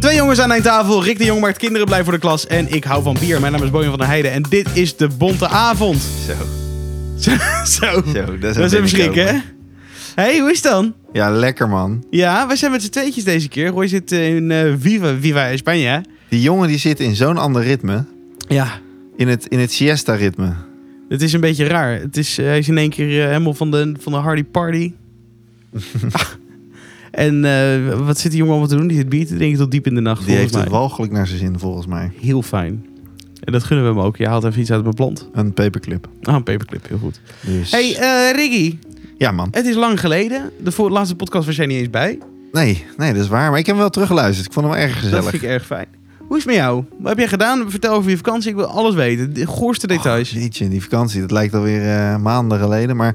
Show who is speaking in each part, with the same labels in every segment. Speaker 1: Twee jongens aan één tafel. Rick de Jong maakt kinderen blij voor de klas. En ik hou van bier. Mijn naam is Bojan van der Heijden. En dit is de Bonte Avond.
Speaker 2: Zo,
Speaker 1: Zo. Zo.
Speaker 2: zo. Dat is,
Speaker 1: Dat is even schrikken, hè?
Speaker 2: binnenkomen.
Speaker 1: hey, hoe is het dan?
Speaker 2: Ja, lekker man.
Speaker 1: Ja, we zijn met z'n tweetjes deze keer. Roy zit eh, in eh, Viva, Viva Spanje, hè?
Speaker 2: Die jongen die zit in zo'n ander ritme.
Speaker 1: Ja.
Speaker 2: In het, in het siesta-ritme.
Speaker 1: Het is een beetje raar. Het is, eh, hij is in één keer eh, helemaal van de, van de hardy party. Ah. en eh, wat zit die jongen allemaal te doen? Die zit bier te drinken tot diep in de nacht,
Speaker 2: Die heeft
Speaker 1: volgens
Speaker 2: het
Speaker 1: mij.
Speaker 2: walgelijk naar zijn zin, volgens mij.
Speaker 1: Heel fijn. En dat gunnen we hem ook. Je haalt even iets uit mijn plant.
Speaker 2: Een paperclip.
Speaker 1: Ah, een paperclip. Heel goed.
Speaker 2: Dus...
Speaker 1: hey, eh, Riggy.
Speaker 2: Ja, man.
Speaker 1: Het is lang geleden. De voor, laatste podcast was jij niet eens bij.
Speaker 2: Nee, nee, dat is waar. Maar ik heb hem wel teruggeluisterd. Ik vond hem erg
Speaker 1: Dat
Speaker 2: gezellig.
Speaker 1: vind ik erg fijn. Hoe is het met jou? Wat heb jij gedaan? Vertel over je vakantie. Ik wil alles weten. De goorste details.
Speaker 2: Oh, jeetje, die vakantie. Dat lijkt alweer eh maanden geleden. Maar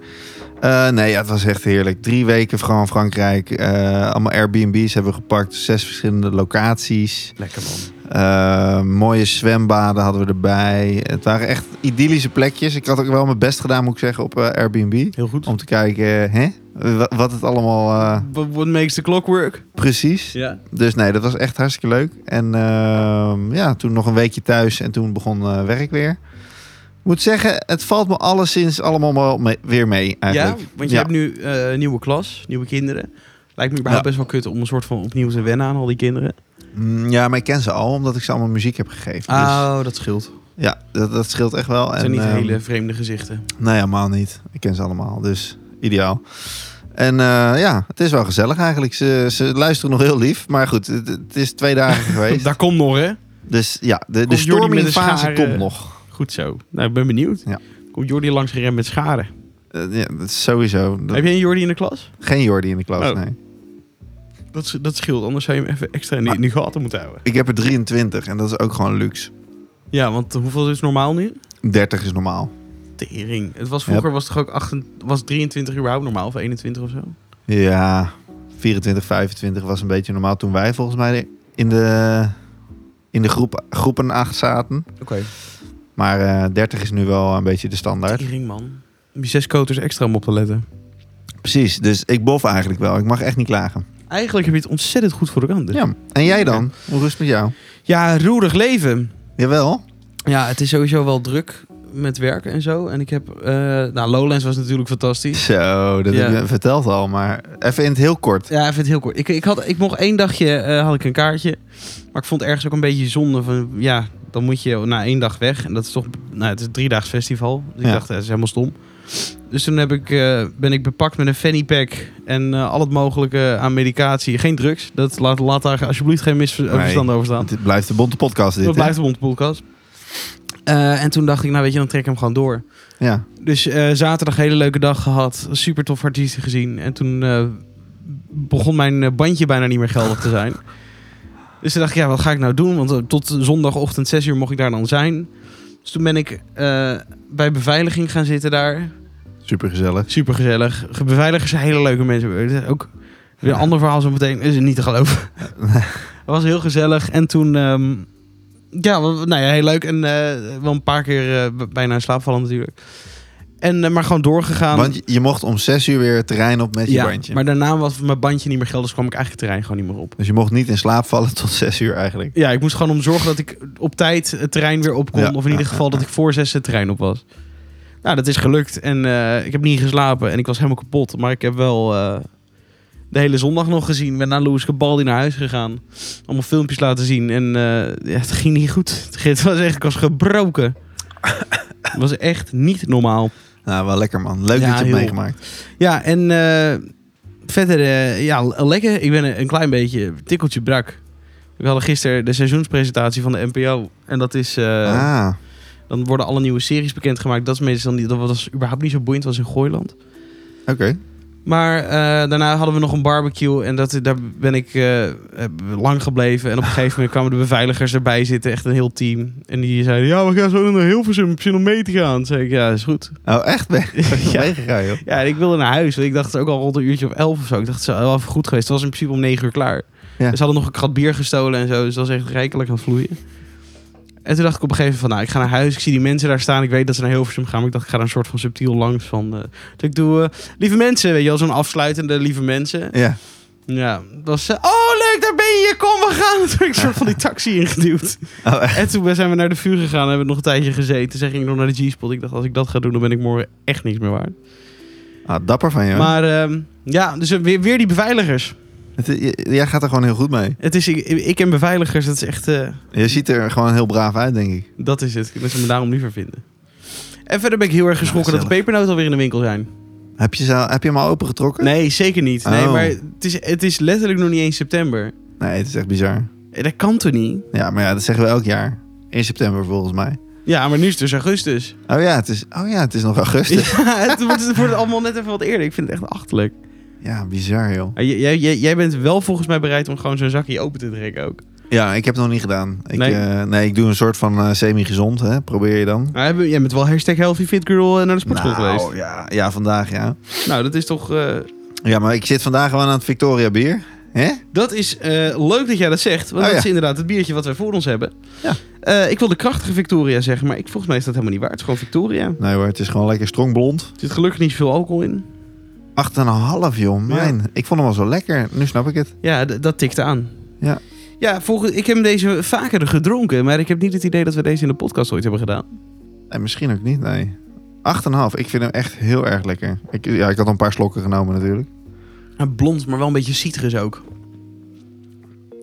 Speaker 2: eh, nee, ja, het was echt heerlijk. Drie weken gewoon Frankrijk. eh, allemaal Airbnbs hebben we gepakt. Zes verschillende locaties.
Speaker 1: Lekker man.
Speaker 2: Eh, mooie zwembaden hadden we erbij. Het waren echt idyllische plekjes. Ik had ook wel mijn best gedaan, moet ik zeggen, op eh, Airbnb.
Speaker 1: Heel goed.
Speaker 2: Om te kijken hè, wa- wat het allemaal eh,
Speaker 1: What what makes the clock work?
Speaker 2: precies.
Speaker 1: Ja.
Speaker 2: Dus nee, dat was echt hartstikke leuk. En ehm, ja, toen nog een weekje thuis en toen begon eh, werk weer. Ik moet zeggen, het valt me alleszins allemaal wel me- weer mee eigenlijk.
Speaker 1: Ja, want je
Speaker 2: Ja.
Speaker 1: hebt nu eh, een nieuwe klas, nieuwe kinderen. Lijkt me überhaupt
Speaker 2: Ja.
Speaker 1: best wel kut om een soort van opnieuw te wennen aan al die kinderen.
Speaker 2: Mm, ja, maar ik ken ze al, omdat ik ze allemaal muziek heb gegeven. Dus
Speaker 1: Oh, dat scheelt.
Speaker 2: ja, dat, dat scheelt echt wel.
Speaker 1: Het zijn niet
Speaker 2: ehm,
Speaker 1: hele vreemde gezichten.
Speaker 2: Nee, helemaal niet. Ik ken ze allemaal, dus ideaal. En eh, ja, het is wel gezellig eigenlijk. Ze, ze luisteren nog heel lief. Maar goed, het, het is twee dagen geweest.
Speaker 1: Daar komt nog, hè?
Speaker 2: Dus ja, de, de
Speaker 1: Komt Jordi met een
Speaker 2: stormingfase
Speaker 1: schaar,
Speaker 2: komt
Speaker 1: eh,
Speaker 2: nog.
Speaker 1: Goed zo. Nou, ik ben benieuwd.
Speaker 2: Ja.
Speaker 1: Komt Jordi langs gerend met scharen?
Speaker 2: Eh, ja, dat is sowieso. Dat-
Speaker 1: Heb jij een Jordi in de klas?
Speaker 2: Geen Jordi in de klas,
Speaker 1: Oh.
Speaker 2: nee.
Speaker 1: Dat, sch- dat scheelt, anders zou je hem even extra in de, in de gaten moeten houden.
Speaker 2: Ik heb er 23 en dat is ook gewoon luxe.
Speaker 1: Ja, want hoeveel is normaal nu?
Speaker 2: 30 is normaal.
Speaker 1: Tering. Het was vroeger was toch ook 28, was 23 überhaupt normaal of 21 of zo?
Speaker 2: Ja, 24, 25 was een beetje normaal toen wij volgens mij in de, in de groep, groepen 8 zaten.
Speaker 1: Oké.
Speaker 2: Maar eh, 30 is nu wel een beetje de standaard.
Speaker 1: Tering man. Heb je zes koters extra om op te letten?
Speaker 2: Precies, dus ik bof eigenlijk wel. Ik mag echt niet klagen.
Speaker 1: Eigenlijk heb je het ontzettend goed voor de kant. dus.
Speaker 2: Ja, en jij dan? Hoe rust met jou?
Speaker 1: ja, roerig leven.
Speaker 2: Jawel.
Speaker 1: Ja, het is sowieso wel druk met werken en zo. En ik heb... eh, nou, Lowlands was natuurlijk fantastisch.
Speaker 2: Zo, dat
Speaker 1: Ja.
Speaker 2: heb je verteld al, maar even in het heel kort.
Speaker 1: Ja, even het heel kort. Ik, ik, had, ik mocht één dagje, eh, had ik een kaartje. Maar ik vond het ergens ook een beetje zonde van... Ja, dan moet je na één dag weg. En dat is toch... Nou, het is een driedaags festival. Dus
Speaker 2: Ja.
Speaker 1: ik dacht, eh, dat is helemaal stom. Dus toen heb ik, eh, ben ik bepakt met een fanny pack. En eh, al het mogelijke aan medicatie. Geen drugs. Dat laat, laat daar alsjeblieft geen misverstand over staan.
Speaker 2: Het blijft de bonte podcast dit,
Speaker 1: Dat
Speaker 2: hè?
Speaker 1: blijft een podcast. Eh, en toen dacht ik, nou weet je, dan trek ik hem gewoon door.
Speaker 2: Ja,
Speaker 1: Dus eh, zaterdag een hele leuke dag gehad. Super tof artiesten gezien. En toen eh, begon mijn eh, bandje bijna niet meer geldig te zijn. Dus toen dacht ik, ja, wat ga ik nou doen? Want eh, tot zondagochtend 6 uur mocht ik daar dan zijn. Dus toen ben ik eh, bij beveiliging gaan zitten daar.
Speaker 2: supergezellig.
Speaker 1: Super gezellig. Beveiligers zijn hele leuke mensen. Het is Ook weer een
Speaker 2: Ja.
Speaker 1: ander verhaal zo meteen. Is het niet te geloven. Het was heel gezellig. En toen... ehm, ja, wel- nou ja, heel leuk. En eh, wel een paar keer eh, b- bijna in slaap vallen natuurlijk. En, eh, maar gewoon doorgegaan.
Speaker 2: Want je- je mocht om 6 uur weer het terrein op met je
Speaker 1: ja,
Speaker 2: bandje.
Speaker 1: maar daarna was mijn bandje niet meer geldig. Dus kwam ik eigenlijk het terrein gewoon niet meer op.
Speaker 2: Dus je mocht niet in slaap vallen tot 6 uur eigenlijk.
Speaker 1: Ja, ik moest gewoon om zorgen dat ik op tijd het terrein weer op kon.
Speaker 2: Ja.
Speaker 1: Of in ieder geval dat ik voor zes het terrein op was. Nou, dat is gelukt. En eh, ik heb niet geslapen en ik was helemaal kapot. Maar ik heb wel eh, de hele zondag nog gezien. Ik ben naar Louis Cabaldi naar huis gegaan. Allemaal filmpjes laten zien. En eh, ja, het ging niet goed. Het was echt, ik was gebroken. Het was echt niet normaal.
Speaker 2: Nou, wel lekker man. Leuk
Speaker 1: Ja,
Speaker 2: dat je
Speaker 1: heel.
Speaker 2: het meegemaakt.
Speaker 1: Ja, en eh, verder, eh, ja, lekker. Ik ben een- een klein beetje tikkeltje brak. We hadden gisteren de seizoenspresentatie van de NPO. En dat is, eh,
Speaker 2: ah,
Speaker 1: dan worden alle nieuwe series bekendgemaakt. Dat, is meestal niet, dat was überhaupt niet zo boeiend was in Gooiland.
Speaker 2: oké.
Speaker 1: Maar eh, daarna hadden we nog een barbecue. En dat, daar ben ik eh, eh, lang gebleven. En op een gegeven moment kwamen de beveiligers erbij zitten. Echt een heel team. En die zeiden, ja, we gaan zo naar Hilversum. Heb je nog mee te gaan? Toen zei ik, ja, is goed.
Speaker 2: Oh, echt? Ben je
Speaker 1: Ja.
Speaker 2: meegegaan, joh?
Speaker 1: Ja, en ik wilde naar huis. Want ik dacht het is ook al rond een uurtje of elf of zo. Ik dacht, het is wel even goed geweest. Het was in principe om negen uur klaar.
Speaker 2: Ja.
Speaker 1: Ze hadden nog een krat bier gestolen en zo. Dus dat was echt rijkelijk aan het vloeien. En toen dacht ik op een gegeven moment van, nou, ik ga naar huis. Ik zie die mensen daar staan. Ik weet dat ze naar Hilversum gaan. Maar ik dacht, ik ga daar een soort van subtiel langs van... eh, dus ik doe, eh, lieve mensen, weet je wel, zo'n afsluitende lieve mensen.
Speaker 2: Ja.
Speaker 1: Ja, dat was... eh, oh, leuk, daar ben je. Kom, we gaan. Toen ik zo soort van die taxi ingeduwd.
Speaker 2: Oh, echt?
Speaker 1: En toen zijn we naar de vuur gegaan en hebben we nog een tijdje gezeten. Toen ging ik nog naar de G-spot. Ik dacht, als ik dat ga doen, dan ben ik morgen echt niks meer waard.
Speaker 2: Ah, dapper van je. hoor.
Speaker 1: Maar ehm, ja, dus weer, weer die beveiligers.
Speaker 2: Het- j- jij gaat er gewoon heel goed mee.
Speaker 1: Het is, ik, ik en beveiligers, dat is echt... eh,
Speaker 2: Je ziet er gewoon heel braaf uit, denk ik.
Speaker 1: dat is het. Dat ze me daarom liever vinden. En verder ben ik heel erg geschrokken dat de
Speaker 2: gezellig.
Speaker 1: pepernoten alweer in de winkel zijn.
Speaker 2: Heb je, ze- heb je hem al opengetrokken?
Speaker 1: Nee, zeker niet. Nee,
Speaker 2: Oh.
Speaker 1: maar het is, het is letterlijk nog niet eens september.
Speaker 2: Nee, het is echt bizar.
Speaker 1: Eh, Dat kan toch niet?
Speaker 2: Ja, maar ja, dat zeggen we elk jaar. In september volgens mij.
Speaker 1: Ja, maar nu is het dus augustus.
Speaker 2: Oh ja, het is, oh ja, het is nog augustus.
Speaker 1: Ja, het, wordt, het wordt allemaal net even wat eerder. Ik vind het echt achterlijk.
Speaker 2: Ja, bizar joh.
Speaker 1: Ah, j- jij- jij- jij bent wel volgens mij bereid om gewoon zo'n zakje open te trekken ook.
Speaker 2: Ja, ik heb het nog niet gedaan. Ik,
Speaker 1: Nee.
Speaker 2: nee. nee, ik doe een soort van eh, semi-gezond, hè. Probeer je dan.
Speaker 1: Maar hebben- Nou, jij bent wel hashtag healthy fit girl eh, naar de sportschool geweest.
Speaker 2: Nou, ja, ja, vandaag ja.
Speaker 1: Nou, dat is toch... eh,
Speaker 2: Ja, maar ik zit vandaag gewoon aan het Victoria bier. Hè?
Speaker 1: dat is eh, leuk dat jij dat zegt. Want
Speaker 2: Oh,
Speaker 1: dat
Speaker 2: ja.
Speaker 1: is inderdaad het biertje wat wij voor ons hebben.
Speaker 2: Ja.
Speaker 1: Eh, ik wil de krachtige Victoria zeggen, maar ik, volgens mij is dat helemaal niet waar. Het is gewoon Victoria. Er
Speaker 2: Nee hoor, het is gewoon lekker strong blond.
Speaker 1: zit gelukkig niet zoveel alcohol in.
Speaker 2: 8,5 joh, mijn. Ik vond hem al zo lekker. Nu snap ik het.
Speaker 1: Ja, d- dat tikte aan.
Speaker 2: Ja.
Speaker 1: Ja, volgens, ik heb deze vaker gedronken, maar ik heb niet het idee dat we deze in de podcast ooit hebben gedaan.
Speaker 2: En misschien ook niet, nee. 8,5. Ik vind hem echt heel erg lekker. Ik, ja, ik had een paar slokken genomen natuurlijk.
Speaker 1: Ja, Blond, maar wel een beetje citrus ook.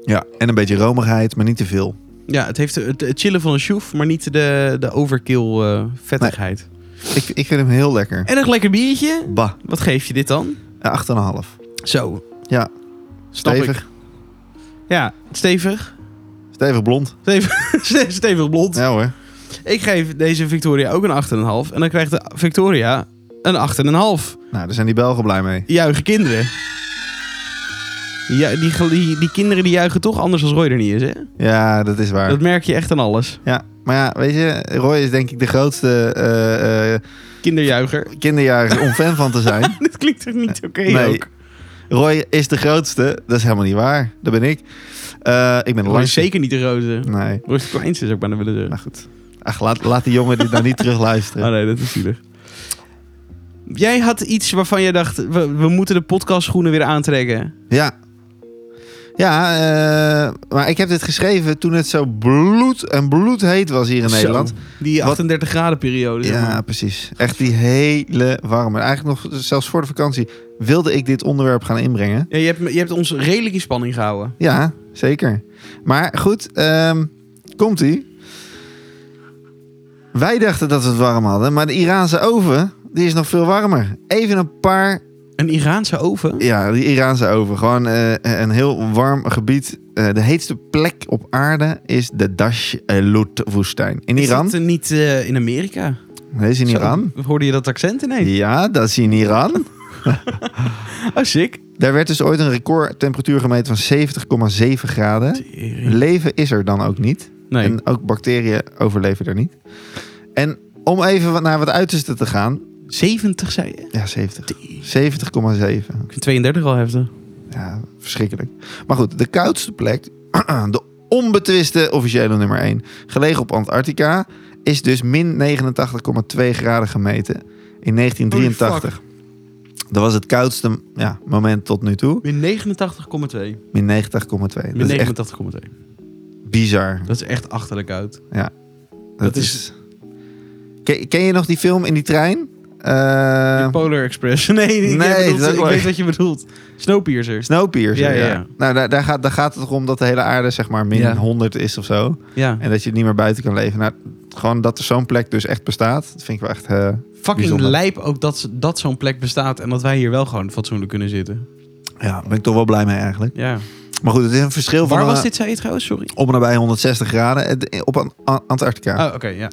Speaker 2: Ja, en een beetje romigheid, maar niet te veel.
Speaker 1: Ja, het heeft het, het chillen van een sjoef, maar niet de, de overkill eh, vettigheid.
Speaker 2: Ik, ik vind hem heel lekker.
Speaker 1: En een lekker biertje.
Speaker 2: Bah,
Speaker 1: Wat geef je dit dan?
Speaker 2: ja, 8,5.
Speaker 1: Zo.
Speaker 2: Ja.
Speaker 1: Snap ik.
Speaker 2: Stevig.
Speaker 1: Ja, stevig.
Speaker 2: Stevig blond.
Speaker 1: Stevig, stevig blond.
Speaker 2: Ja hoor.
Speaker 1: Ik geef deze Victoria ook een 8,5. En dan krijgt de Victoria een 8,5.
Speaker 2: Nou, daar zijn die Belgen blij mee.
Speaker 1: juichen kinderen. Ja, die, ge- die, die kinderen die juichen toch anders als Roy er niet is, hè?
Speaker 2: Ja, dat is waar.
Speaker 1: Dat merk je echt aan alles.
Speaker 2: Ja, maar ja, weet je, Roy is denk ik de grootste eh eh
Speaker 1: Kinderjuicher.
Speaker 2: kinderjarige om fan van te zijn.
Speaker 1: Dit klinkt toch niet oké
Speaker 2: Nee.
Speaker 1: ook?
Speaker 2: Roy is de grootste. Dat is helemaal niet waar. Dat ben ik. Eh, ik ben
Speaker 1: Roy
Speaker 2: de
Speaker 1: is
Speaker 2: langste.
Speaker 1: zeker niet de roze.
Speaker 2: Nee.
Speaker 1: Roy is de kleinste, zou ik bijna willen zeggen.
Speaker 2: Nou goed. Ach, laat, laat die jongen dit nou niet terugluisteren.
Speaker 1: Ah nee, dat is zielig. Jij had iets waarvan jij dacht, we, we moeten de podcastschoenen weer aantrekken.
Speaker 2: Ja. Ja, eh, maar ik heb dit geschreven toen het zo bloed en bloedheet was hier in
Speaker 1: Zo,
Speaker 2: Nederland.
Speaker 1: die
Speaker 2: Wat-
Speaker 1: 38 graden periode. zeg
Speaker 2: Ja,
Speaker 1: maar.
Speaker 2: precies. Echt die hele warme. En Eigenlijk nog zelfs voor de vakantie wilde ik dit onderwerp gaan inbrengen.
Speaker 1: Ja, je, hebt, je hebt ons redelijk in spanning gehouden.
Speaker 2: Ja, zeker. Maar goed, ehm, komt-ie. Wij dachten dat we het warm hadden, maar de Iraanse oven die is nog veel warmer. Even een paar
Speaker 1: Een Iraanse oven?
Speaker 2: Ja, die Iraanse oven. Gewoon eh, een heel warm gebied. Eh, de heetste plek op aarde is de Dash woestijn In
Speaker 1: Is
Speaker 2: Iran?
Speaker 1: dat, eh, niet eh, in Amerika?
Speaker 2: Nee, is in Iran.
Speaker 1: Zo, hoorde je dat accent ineens?
Speaker 2: Ja, dat is in Iran.
Speaker 1: Oh, sick.
Speaker 2: Daar werd dus ooit een recordtemperatuur gemeten van 70,7 graden. Leven is er dan ook niet.
Speaker 1: Nee.
Speaker 2: En ook bacteriën overleven er niet. En om even wat- naar wat uiterste te gaan.
Speaker 1: 70 zei je?
Speaker 2: Ja, 70. 70,7.
Speaker 1: Ik vind 32 al heftig.
Speaker 2: Ja, verschrikkelijk. Maar goed, de koudste plek, de onbetwiste officiële nummer 1, gelegen op Antarctica, is dus min 89,2 graden gemeten in 1983. Dat was het koudste ja, moment tot nu toe.
Speaker 1: Min 89,2.
Speaker 2: Min 90,2.
Speaker 1: Min
Speaker 2: Dat is echt
Speaker 1: 89,2.
Speaker 2: bizar.
Speaker 1: Dat is echt achterlijk uit.
Speaker 2: Dat,
Speaker 1: dat is-
Speaker 2: is... Ken, ken je nog die film in die trein? Eh,
Speaker 1: Die Polar Express. Nee, nee, ik,
Speaker 2: nee,
Speaker 1: bedoel-
Speaker 2: dat is
Speaker 1: ik
Speaker 2: ook
Speaker 1: weet
Speaker 2: leuk.
Speaker 1: wat je bedoelt. Snowpiercer.
Speaker 2: Snowpiercer,
Speaker 1: Ja,
Speaker 2: ja.
Speaker 1: ja, ja.
Speaker 2: Nou, daar, daar, gaat, daar gaat het toch om dat de hele aarde zeg maar min
Speaker 1: Ja.
Speaker 2: 100 is of zo.
Speaker 1: Ja.
Speaker 2: En dat je niet meer buiten kan leven. Nou, gewoon dat er zo'n plek dus echt bestaat. Dat vind ik wel echt... eh,
Speaker 1: Fucking
Speaker 2: Bijzonder.
Speaker 1: lijp ook dat, ze- dat zo'n plek bestaat en dat wij hier wel gewoon fatsoenlijk kunnen zitten.
Speaker 2: ja, daar ben ik toch wel blij mee eigenlijk.
Speaker 1: Ja.
Speaker 2: Maar goed, het is een verschil
Speaker 1: Waar
Speaker 2: van...
Speaker 1: was
Speaker 2: eh,
Speaker 1: dit, zei je trouwens? Sorry.
Speaker 2: Om en nabij 160 graden eh, op An- An- Antarctica.
Speaker 1: Oh, oké, ja.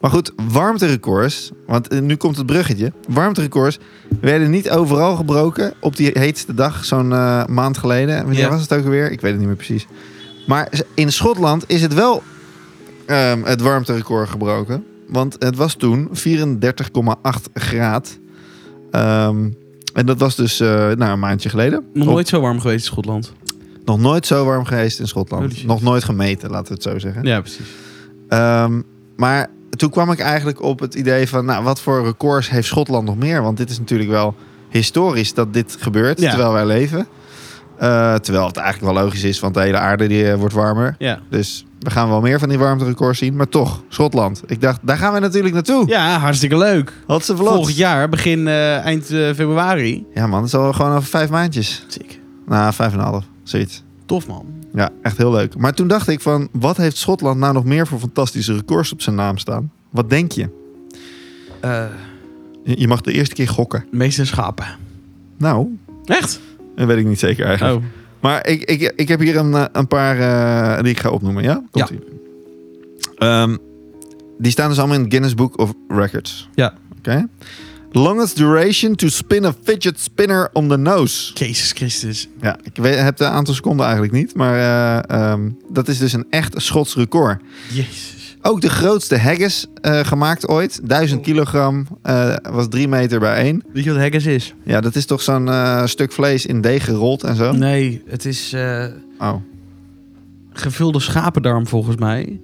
Speaker 2: Maar goed, warmterecords... Want eh, nu komt het bruggetje. Warmterecords werden niet overal gebroken op die heetste dag. Zo'n eh, maand geleden. Wanneer
Speaker 1: Ja.
Speaker 2: was het ook alweer? Ik weet het niet meer precies. Maar in Schotland is het wel ehm, het warmterecord gebroken. Want het was toen 34,8 graad. Ehm, en dat was dus eh, nou, een maandje geleden.
Speaker 1: Nog nooit zo warm geweest in Schotland.
Speaker 2: Nog nooit zo warm geweest in Schotland.
Speaker 1: Holy shit.
Speaker 2: Nog nooit gemeten, laten we het zo zeggen.
Speaker 1: Ja, precies.
Speaker 2: Ehm, maar toen kwam ik eigenlijk op het idee van... Nou, wat voor records heeft Schotland nog meer? Want dit is natuurlijk wel historisch dat dit gebeurt
Speaker 1: Ja.
Speaker 2: terwijl wij leven. Ehm, Eh, terwijl het eigenlijk wel logisch is, want de hele aarde die, eh, wordt warmer.
Speaker 1: Ja.
Speaker 2: Dus we gaan wel meer van die warmterecords zien. Maar toch, Schotland. Ik dacht, daar gaan we natuurlijk naartoe.
Speaker 1: ja, hartstikke leuk.
Speaker 2: Had ze
Speaker 1: Volgend jaar, begin eh, eind eh, februari.
Speaker 2: Ja man, dat is al gewoon over vijf maandjes.
Speaker 1: Sick.
Speaker 2: Nou, vijf en een half. Zoiets.
Speaker 1: Tof man.
Speaker 2: Ja, echt heel leuk. Maar toen dacht ik van, wat heeft Schotland nou nog meer voor fantastische records op zijn naam staan? Wat denk je? Je je mag de eerste keer gokken.
Speaker 1: meeste Eh, schapen.
Speaker 2: Nou,
Speaker 1: Echt?
Speaker 2: dat weet ik niet zeker eigenlijk.
Speaker 1: Oh.
Speaker 2: Maar ik, ik, ik heb hier een, eh, een paar eh, die ik ga opnoemen, ja? Komt-ie. Ehm, die staan dus allemaal in het Guinness Book of Records.
Speaker 1: Ja.
Speaker 2: Oké. Longest duration to spin a fidget spinner on the nose.
Speaker 1: Jezus Christus.
Speaker 2: Ja, ik weet, heb de aantal seconden eigenlijk niet, maar eh, ehm, dat is dus een echt Schots record.
Speaker 1: Jezus.
Speaker 2: Ook de grootste haggis eh, gemaakt ooit. 1000 kilogram, eh, was 3 meter bij 1.
Speaker 1: Weet je wat haggis is?
Speaker 2: Ja, dat is toch zo'n eh, stuk vlees in deeg gerold en zo?
Speaker 1: Nee, het is eh,
Speaker 2: Oh.
Speaker 1: gevulde schapendarm volgens mij.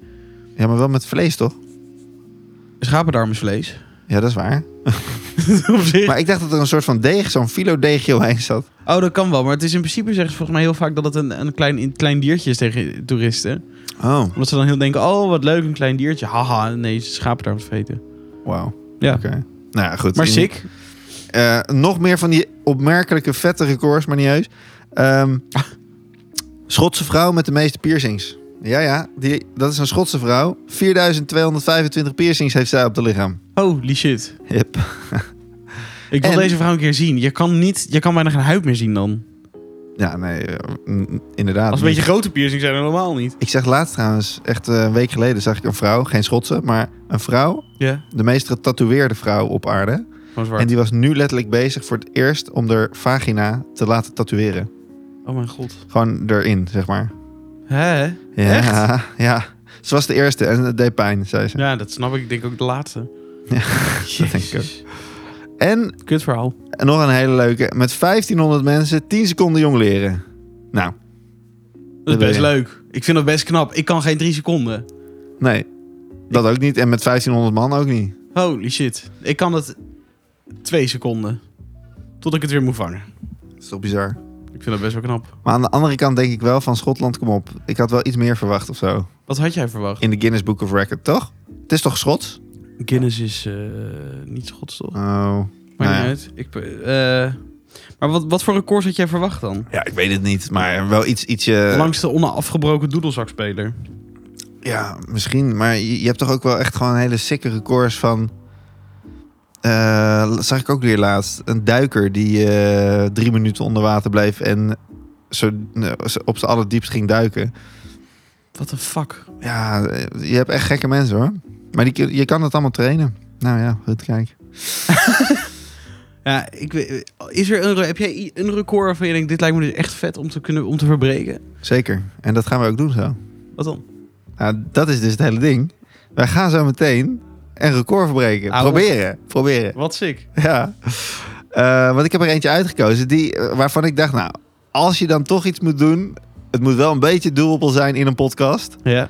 Speaker 2: Ja, maar wel met vlees toch?
Speaker 1: Schapendarm is vlees.
Speaker 2: Ja, dat is waar.
Speaker 1: Op zich.
Speaker 2: Maar ik dacht dat er een soort van deeg, zo'n filo deegje omheen zat.
Speaker 1: Oh, dat kan wel. Maar het is in principe zeggen ze volgens mij heel vaak dat het een, een klein, een klein diertje is tegen toeristen.
Speaker 2: Oh,
Speaker 1: Omdat ze dan heel denken, oh wat leuk, een klein diertje. Haha, nee, ze schapendarm te eten.
Speaker 2: wauw.
Speaker 1: Ja.
Speaker 2: Oké. Nou ja, goed.
Speaker 1: Maar
Speaker 2: In-
Speaker 1: sick.
Speaker 2: eh, nog meer van die opmerkelijke vette records, maar niet heus. Ehm, Schotse vrouw met de meeste piercings. Ja, ja, die, dat is een Schotse vrouw. 4225 piercings heeft zij op de lichaam.
Speaker 1: Holy shit.
Speaker 2: Hip.
Speaker 1: Ik wil
Speaker 2: En-
Speaker 1: deze vrouw een keer zien. Je kan, niet, je kan bijna geen huid meer zien dan.
Speaker 2: Ja, nee, eh, n- inderdaad.
Speaker 1: Als een beetje grote piercing zijn er normaal niet.
Speaker 2: Ik zag laatst trouwens, echt eh, een week geleden, zag ik een vrouw, geen Schotse, maar een vrouw,
Speaker 1: Ja.
Speaker 2: de meest getatoeëerde vrouw op aarde.
Speaker 1: Gewoon
Speaker 2: En
Speaker 1: zwart.
Speaker 2: die was nu letterlijk bezig voor het eerst om haar vagina te laten tatoeëren.
Speaker 1: Oh mijn god.
Speaker 2: Gewoon erin, zeg maar.
Speaker 1: Hè?
Speaker 2: Ja,
Speaker 1: Echt?
Speaker 2: Ja. Ze was de eerste en het deed pijn, zei ze.
Speaker 1: Ja, dat snap ik. Ik denk ook de laatste.
Speaker 2: Ja,
Speaker 1: dat
Speaker 2: denk ik En
Speaker 1: Kut verhaal.
Speaker 2: nog een hele leuke. Met 1500 mensen 10 seconden jong leren. Nou,
Speaker 1: Dat
Speaker 2: Dat
Speaker 1: is best
Speaker 2: wil
Speaker 1: leuk. Ik vind dat best knap. Ik kan geen drie seconden.
Speaker 2: nee. Dat ook niet. En met 1500 man ook niet.
Speaker 1: Holy shit. Ik kan het twee seconden. Tot ik het weer moet vangen.
Speaker 2: Dat is toch bizar.
Speaker 1: Ik vind dat best wel knap.
Speaker 2: Maar aan de andere kant denk ik wel van Schotland, kom op. Ik had wel iets meer verwacht of zo.
Speaker 1: Wat had jij verwacht?
Speaker 2: In de Guinness Book of Record, toch? Het is toch Schots?
Speaker 1: Guinness is eh, niet schots, toch?
Speaker 2: Oh.
Speaker 1: Maakt
Speaker 2: nou ja.
Speaker 1: niet uit. Ik, eh, maar wat, wat voor records had jij verwacht dan?
Speaker 2: Ja, ik weet het niet. Maar wel iets, ietsje...
Speaker 1: Langste onafgebroken doedelzakspeler.
Speaker 2: Ja, misschien. Maar je, je hebt toch ook wel echt gewoon hele sikke records van... eh, zag ik ook weer laatst. Een duiker die eh, drie minuten onder water bleef en zo, eh, op z'n allerdiepst ging duiken.
Speaker 1: Wat een fuck.
Speaker 2: Ja, eh, je hebt echt gekke mensen hoor. Maar die, kun- je kan het allemaal trainen. Nou ja, goed kijk.
Speaker 1: Ja, ik, weet- is er een, re- heb jij i- een record waarvan je denkt, dit lijkt me dus echt vet om te, kunnen, om te verbreken?
Speaker 2: Zeker. En dat gaan we ook doen zo.
Speaker 1: Wat dan?
Speaker 2: Nou, dat is dus het hele ding. Wij gaan zo meteen een record verbreken.
Speaker 1: Ah,
Speaker 2: proberen. Proberen.
Speaker 1: Wat sick.
Speaker 2: Ja. Eh, want ik heb er eentje uitgekozen die, eh, waarvan ik dacht, nou, als je dan toch iets moet doen, het moet wel een beetje doelbel zijn in een podcast.
Speaker 1: Ja.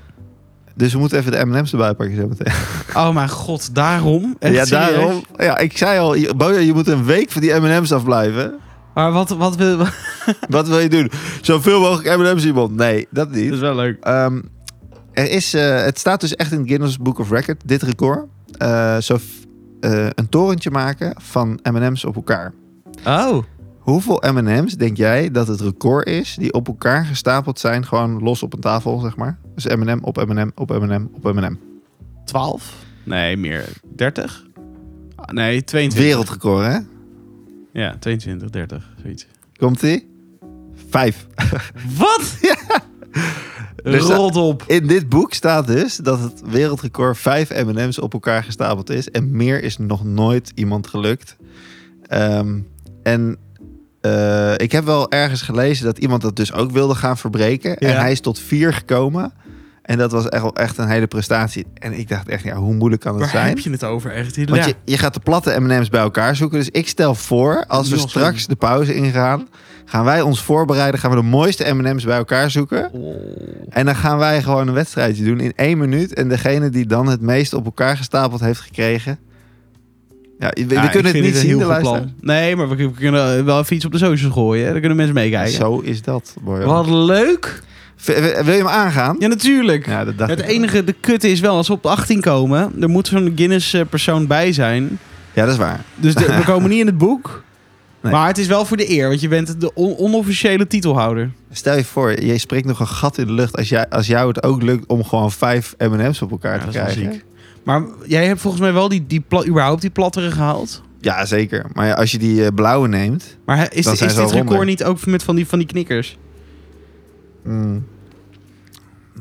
Speaker 2: Dus we moeten even de M&M's erbij pakken zo meteen.
Speaker 1: Oh mijn god, daarom? Echt
Speaker 2: ja,
Speaker 1: serieus?
Speaker 2: daarom. Ja, ik zei al, je- Boja, je moet een week van die M&M's afblijven.
Speaker 1: Maar wat, wat wil...
Speaker 2: Wat wil je doen? Zoveel mogelijk M&M's iemand? Nee, dat
Speaker 1: Dat
Speaker 2: niet.
Speaker 1: is wel leuk.
Speaker 2: Ehm, er is, eh, het staat dus echt in het Guinness Book of Record, dit record. Eh, zo f- eh, een torentje maken van M&M's op elkaar.
Speaker 1: Oh.
Speaker 2: Hoeveel M&M's denk jij dat het record is die op elkaar gestapeld zijn, gewoon los op een tafel, zeg maar? Dus M&M op M&M op M&M op M&M.
Speaker 1: 12? Nee, meer. 30? Ah, Nee, 22.
Speaker 2: Wereldrecord, hè?
Speaker 1: Ja, 22, 30, zoiets.
Speaker 2: Komt-ie? Vijf.
Speaker 1: Wat? Ja.
Speaker 2: Dus dat-
Speaker 1: Rot op.
Speaker 2: In dit boek staat dus dat het wereldrecord vijf M&M's op elkaar gestapeld is. En meer is nog nooit iemand gelukt. Ehm, en eh, ik heb wel ergens gelezen dat iemand dat dus ook wilde gaan verbreken. En
Speaker 1: Ja.
Speaker 2: hij is tot vier gekomen. En dat was echt, wel echt een hele prestatie. En ik dacht echt, ja, hoe moeilijk kan dat
Speaker 1: Waar
Speaker 2: zijn?
Speaker 1: heb je het over echt?
Speaker 2: Want
Speaker 1: Ja.
Speaker 2: je, je gaat de platte M&M's bij elkaar zoeken. Dus ik stel voor, als we
Speaker 1: Nog zo'n-
Speaker 2: straks de pauze ingaan... gaan wij ons voorbereiden, gaan we de mooiste M&M's bij elkaar zoeken.
Speaker 1: Oh.
Speaker 2: En dan gaan wij gewoon een wedstrijdje doen in één minuut. En degene die dan het meest op elkaar gestapeld heeft gekregen... Ja, we, we
Speaker 1: Ja, ik
Speaker 2: kunnen het
Speaker 1: vind dit
Speaker 2: niet
Speaker 1: een
Speaker 2: zien, de
Speaker 1: heel goed
Speaker 2: luisteraar.
Speaker 1: plan. Nee, maar we, we kunnen wel even iets op de socials gooien. Hè? Dan kunnen mensen meekijken.
Speaker 2: Zo is dat. Boy.
Speaker 1: Wat leuk.
Speaker 2: V- w- Wil je hem aangaan?
Speaker 1: Ja, natuurlijk.
Speaker 2: Ja, dat dacht
Speaker 1: het
Speaker 2: ik wel.
Speaker 1: enige, de kut is wel, als we op de 18 komen, er moet zo'n Guinness-persoon bij zijn.
Speaker 2: Ja, dat is waar.
Speaker 1: Dus de- we komen niet in het boek.
Speaker 2: Nee.
Speaker 1: Maar het is wel voor de eer, want je bent de on- onofficiële titelhouder.
Speaker 2: Stel je voor, je spreekt nog een gat in de lucht als, jij, als jou het ook lukt om gewoon vijf M&M's op elkaar
Speaker 1: Ja,
Speaker 2: te
Speaker 1: dat is wel
Speaker 2: krijgen.
Speaker 1: ziek. Maar jij hebt volgens mij wel die, die pla- überhaupt die plattere gehaald.
Speaker 2: Ja, zeker. Maar ja, als je die eh, blauwe neemt...
Speaker 1: Maar hè, is,
Speaker 2: Dan
Speaker 1: is
Speaker 2: zijn
Speaker 1: dit
Speaker 2: ze al
Speaker 1: record
Speaker 2: ronder.
Speaker 1: niet ook met van die, van die knikkers?
Speaker 2: mm,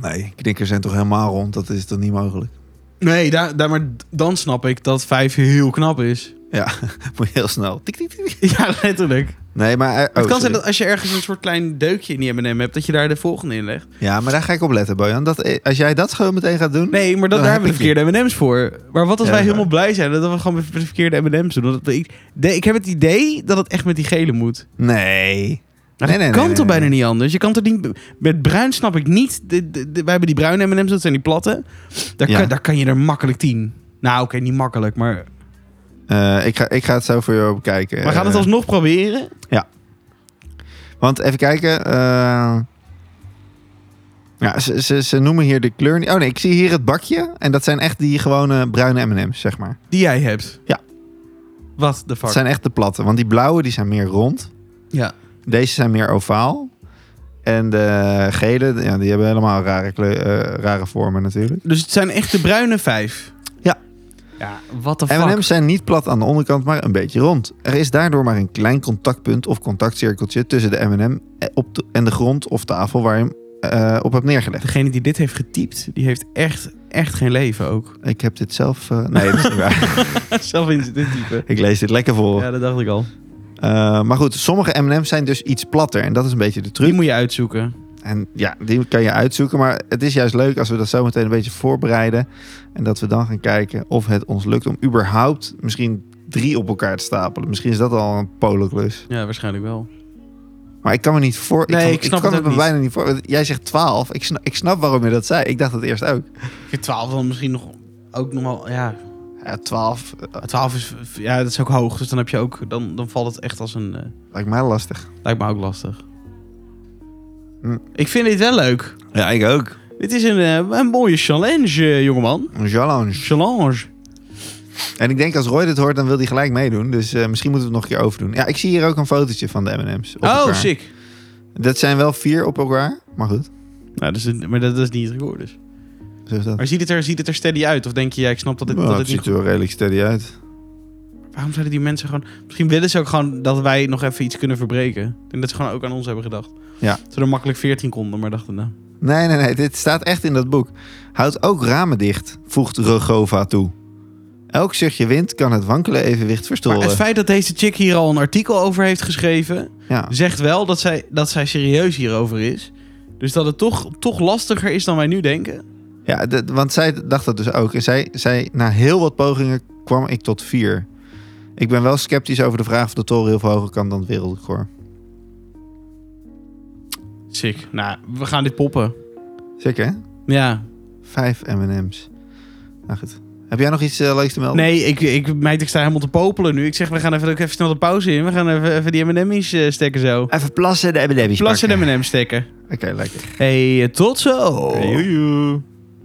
Speaker 2: nee, knikkers zijn toch helemaal rond? Dat is toch niet mogelijk?
Speaker 1: Nee, daar, daar, maar dan snap ik dat vijf heel knap is.
Speaker 2: Ja, moet je heel snel. Tik, tik, tik, tik.
Speaker 1: Ja, letterlijk.
Speaker 2: Nee, maar... eh, oh,
Speaker 1: het kan zijn
Speaker 2: sorry.
Speaker 1: dat als je ergens een soort klein deukje in die M&M hebt, dat je daar de volgende in legt.
Speaker 2: Ja, maar daar ga ik op letten, Bojan. Dat, eh, als jij dat gewoon meteen gaat doen...
Speaker 1: Nee, maar dat,
Speaker 2: Dan
Speaker 1: daar
Speaker 2: heb
Speaker 1: hebben we
Speaker 2: ik die.
Speaker 1: verkeerde M&M's voor. Maar wat als wij
Speaker 2: Ja, dat is
Speaker 1: helemaal blij zijn dat we gewoon met de verkeerde M&M's doen? Dat ik, de- ik heb het idee dat het echt met die gele moet.
Speaker 2: Nee.
Speaker 1: Maar
Speaker 2: Nee,
Speaker 1: dat
Speaker 2: nee,
Speaker 1: kan
Speaker 2: nee,
Speaker 1: toch
Speaker 2: nee,
Speaker 1: bijna niet anders? Je kan toch niet... Met bruin snap ik niet... De, de- de- wij hebben die bruine M&M's, dat zijn die platte. Daar,
Speaker 2: Ja.
Speaker 1: kan, daar kan je er makkelijk tien. Nou, oké, niet makkelijk, maar...
Speaker 2: Eh, ik, ga, ik ga het zo voor jou bekijken.
Speaker 1: Maar gaan we het
Speaker 2: Eh,
Speaker 1: alsnog proberen?
Speaker 2: Want even kijken. eh, ja, ze, ze, ze noemen hier de kleur niet. Oh nee, ik zie hier het bakje. En dat zijn echt die gewone bruine M&M's, zeg maar.
Speaker 1: Die jij hebt.
Speaker 2: Ja.
Speaker 1: Wat de fuck?
Speaker 2: Dat zijn echt de platte. Want die blauwe die zijn meer rond.
Speaker 1: Ja.
Speaker 2: Deze zijn meer ovaal. En de gele, ja, die hebben helemaal rare, kleur, eh, rare vormen natuurlijk.
Speaker 1: Dus het zijn echt de bruine vijf?
Speaker 2: Ja.
Speaker 1: Ja, wat de fuck?
Speaker 2: M&M's zijn niet plat aan de onderkant, maar een beetje rond. Er is daardoor maar een klein contactpunt of contactcirkeltje tussen de M&M op de- en de grond of tafel waar je hem eh, op hebt neergelegd.
Speaker 1: Degene die dit heeft getypt, die heeft echt, echt geen leven ook.
Speaker 2: Ik heb dit zelf... eh, nee, dat is niet waar.
Speaker 1: Zelf in dit type.
Speaker 2: Ik lees dit lekker voor.
Speaker 1: Ja, dat dacht ik al.
Speaker 2: Eh, maar goed, sommige M&M's zijn dus iets platter. En dat is een beetje de
Speaker 1: Die
Speaker 2: truc.
Speaker 1: moet je uitzoeken.
Speaker 2: En ja, die kan je uitzoeken. Maar het is juist leuk als we dat zo meteen een beetje voorbereiden. En dat we dan gaan kijken of het ons lukt om überhaupt misschien drie op elkaar te stapelen. Misschien is dat al een polenklus.
Speaker 1: Ja, waarschijnlijk wel.
Speaker 2: Maar ik kan me niet voor...
Speaker 1: Nee,
Speaker 2: kan,
Speaker 1: ik snap
Speaker 2: kan
Speaker 1: het ook
Speaker 2: me
Speaker 1: niet.
Speaker 2: bijna niet voor. want Jij zegt 12. Ik snap, ik snap waarom je dat zei. Ik dacht het eerst ook.
Speaker 1: Ik vind 12 dan misschien nog ook nog wel. Ja,
Speaker 2: Ja, 12 eh,
Speaker 1: 12 is. Ja, dat is ook hoog. Dus dan heb je ook. Dan, dan valt het echt als een. eh,
Speaker 2: lijkt mij lastig.
Speaker 1: lijkt me ook lastig.
Speaker 2: Hm.
Speaker 1: Ik vind dit wel leuk.
Speaker 2: Ja, ik ook.
Speaker 1: Dit is een, eh, een mooie challenge, eh, jongeman.
Speaker 2: Een challenge.
Speaker 1: Challenge.
Speaker 2: En ik denk als Roy dit hoort, dan wil hij gelijk meedoen. Dus eh, misschien moeten we het nog een keer overdoen. Ja, ik zie hier ook een fotootje van de M&M's. op
Speaker 1: Oh,
Speaker 2: elkaar.
Speaker 1: sick.
Speaker 2: Dat zijn wel vier op elkaar, maar goed.
Speaker 1: Nou, dat is, het- maar dat, dat is niet het record dus.
Speaker 2: Zo is dat.
Speaker 1: Maar ziet het, er, ziet het er steady uit? Of denk je, ja, ik snap dat dit,
Speaker 2: Nou,
Speaker 1: dat
Speaker 2: het
Speaker 1: dit niet
Speaker 2: ziet er wel redelijk steady uit.
Speaker 1: Waarom zouden die mensen gewoon... Misschien willen ze ook gewoon dat wij nog even iets kunnen verbreken. Ik denk dat ze gewoon ook aan ons hebben gedacht.
Speaker 2: Ja.
Speaker 1: Ze er makkelijk 14 konden, maar dachten nou...
Speaker 2: Nee, nee, nee. Dit staat echt in dat boek. Houd ook ramen dicht, voegt Rogova toe. Elk zuchtje wind kan het wankele evenwicht
Speaker 1: Maar
Speaker 2: verstoren.
Speaker 1: het feit dat deze chick hier al een artikel over heeft geschreven...
Speaker 2: Ja.
Speaker 1: zegt wel dat zij, dat zij serieus hierover is. Dus dat het toch, toch lastiger is dan wij nu denken.
Speaker 2: Ja, d- want zij dacht dat dus ook. En zij, zij, na heel wat pogingen kwam ik tot vier. Ik ben wel sceptisch over de vraag of de toren heel veel hoger kan dan het wereldrecord.
Speaker 1: Sick. Nou, we gaan dit poppen.
Speaker 2: Zeker, hè?
Speaker 1: Ja.
Speaker 2: Vijf M&M's. Nou goed. Heb jij nog iets eh, leuks te melden?
Speaker 1: Nee, ik, ik, meid, ik sta helemaal te popelen nu. Ik zeg, we gaan even, ook even snel de pauze in. We gaan even, even die M&M's eh, stekken zo.
Speaker 2: Even plassen de M&M's
Speaker 1: Plassen de
Speaker 2: pakken.
Speaker 1: M&M's stekken.
Speaker 2: Oké, lekker.
Speaker 1: Hey, eh, tot zo.
Speaker 2: Hey,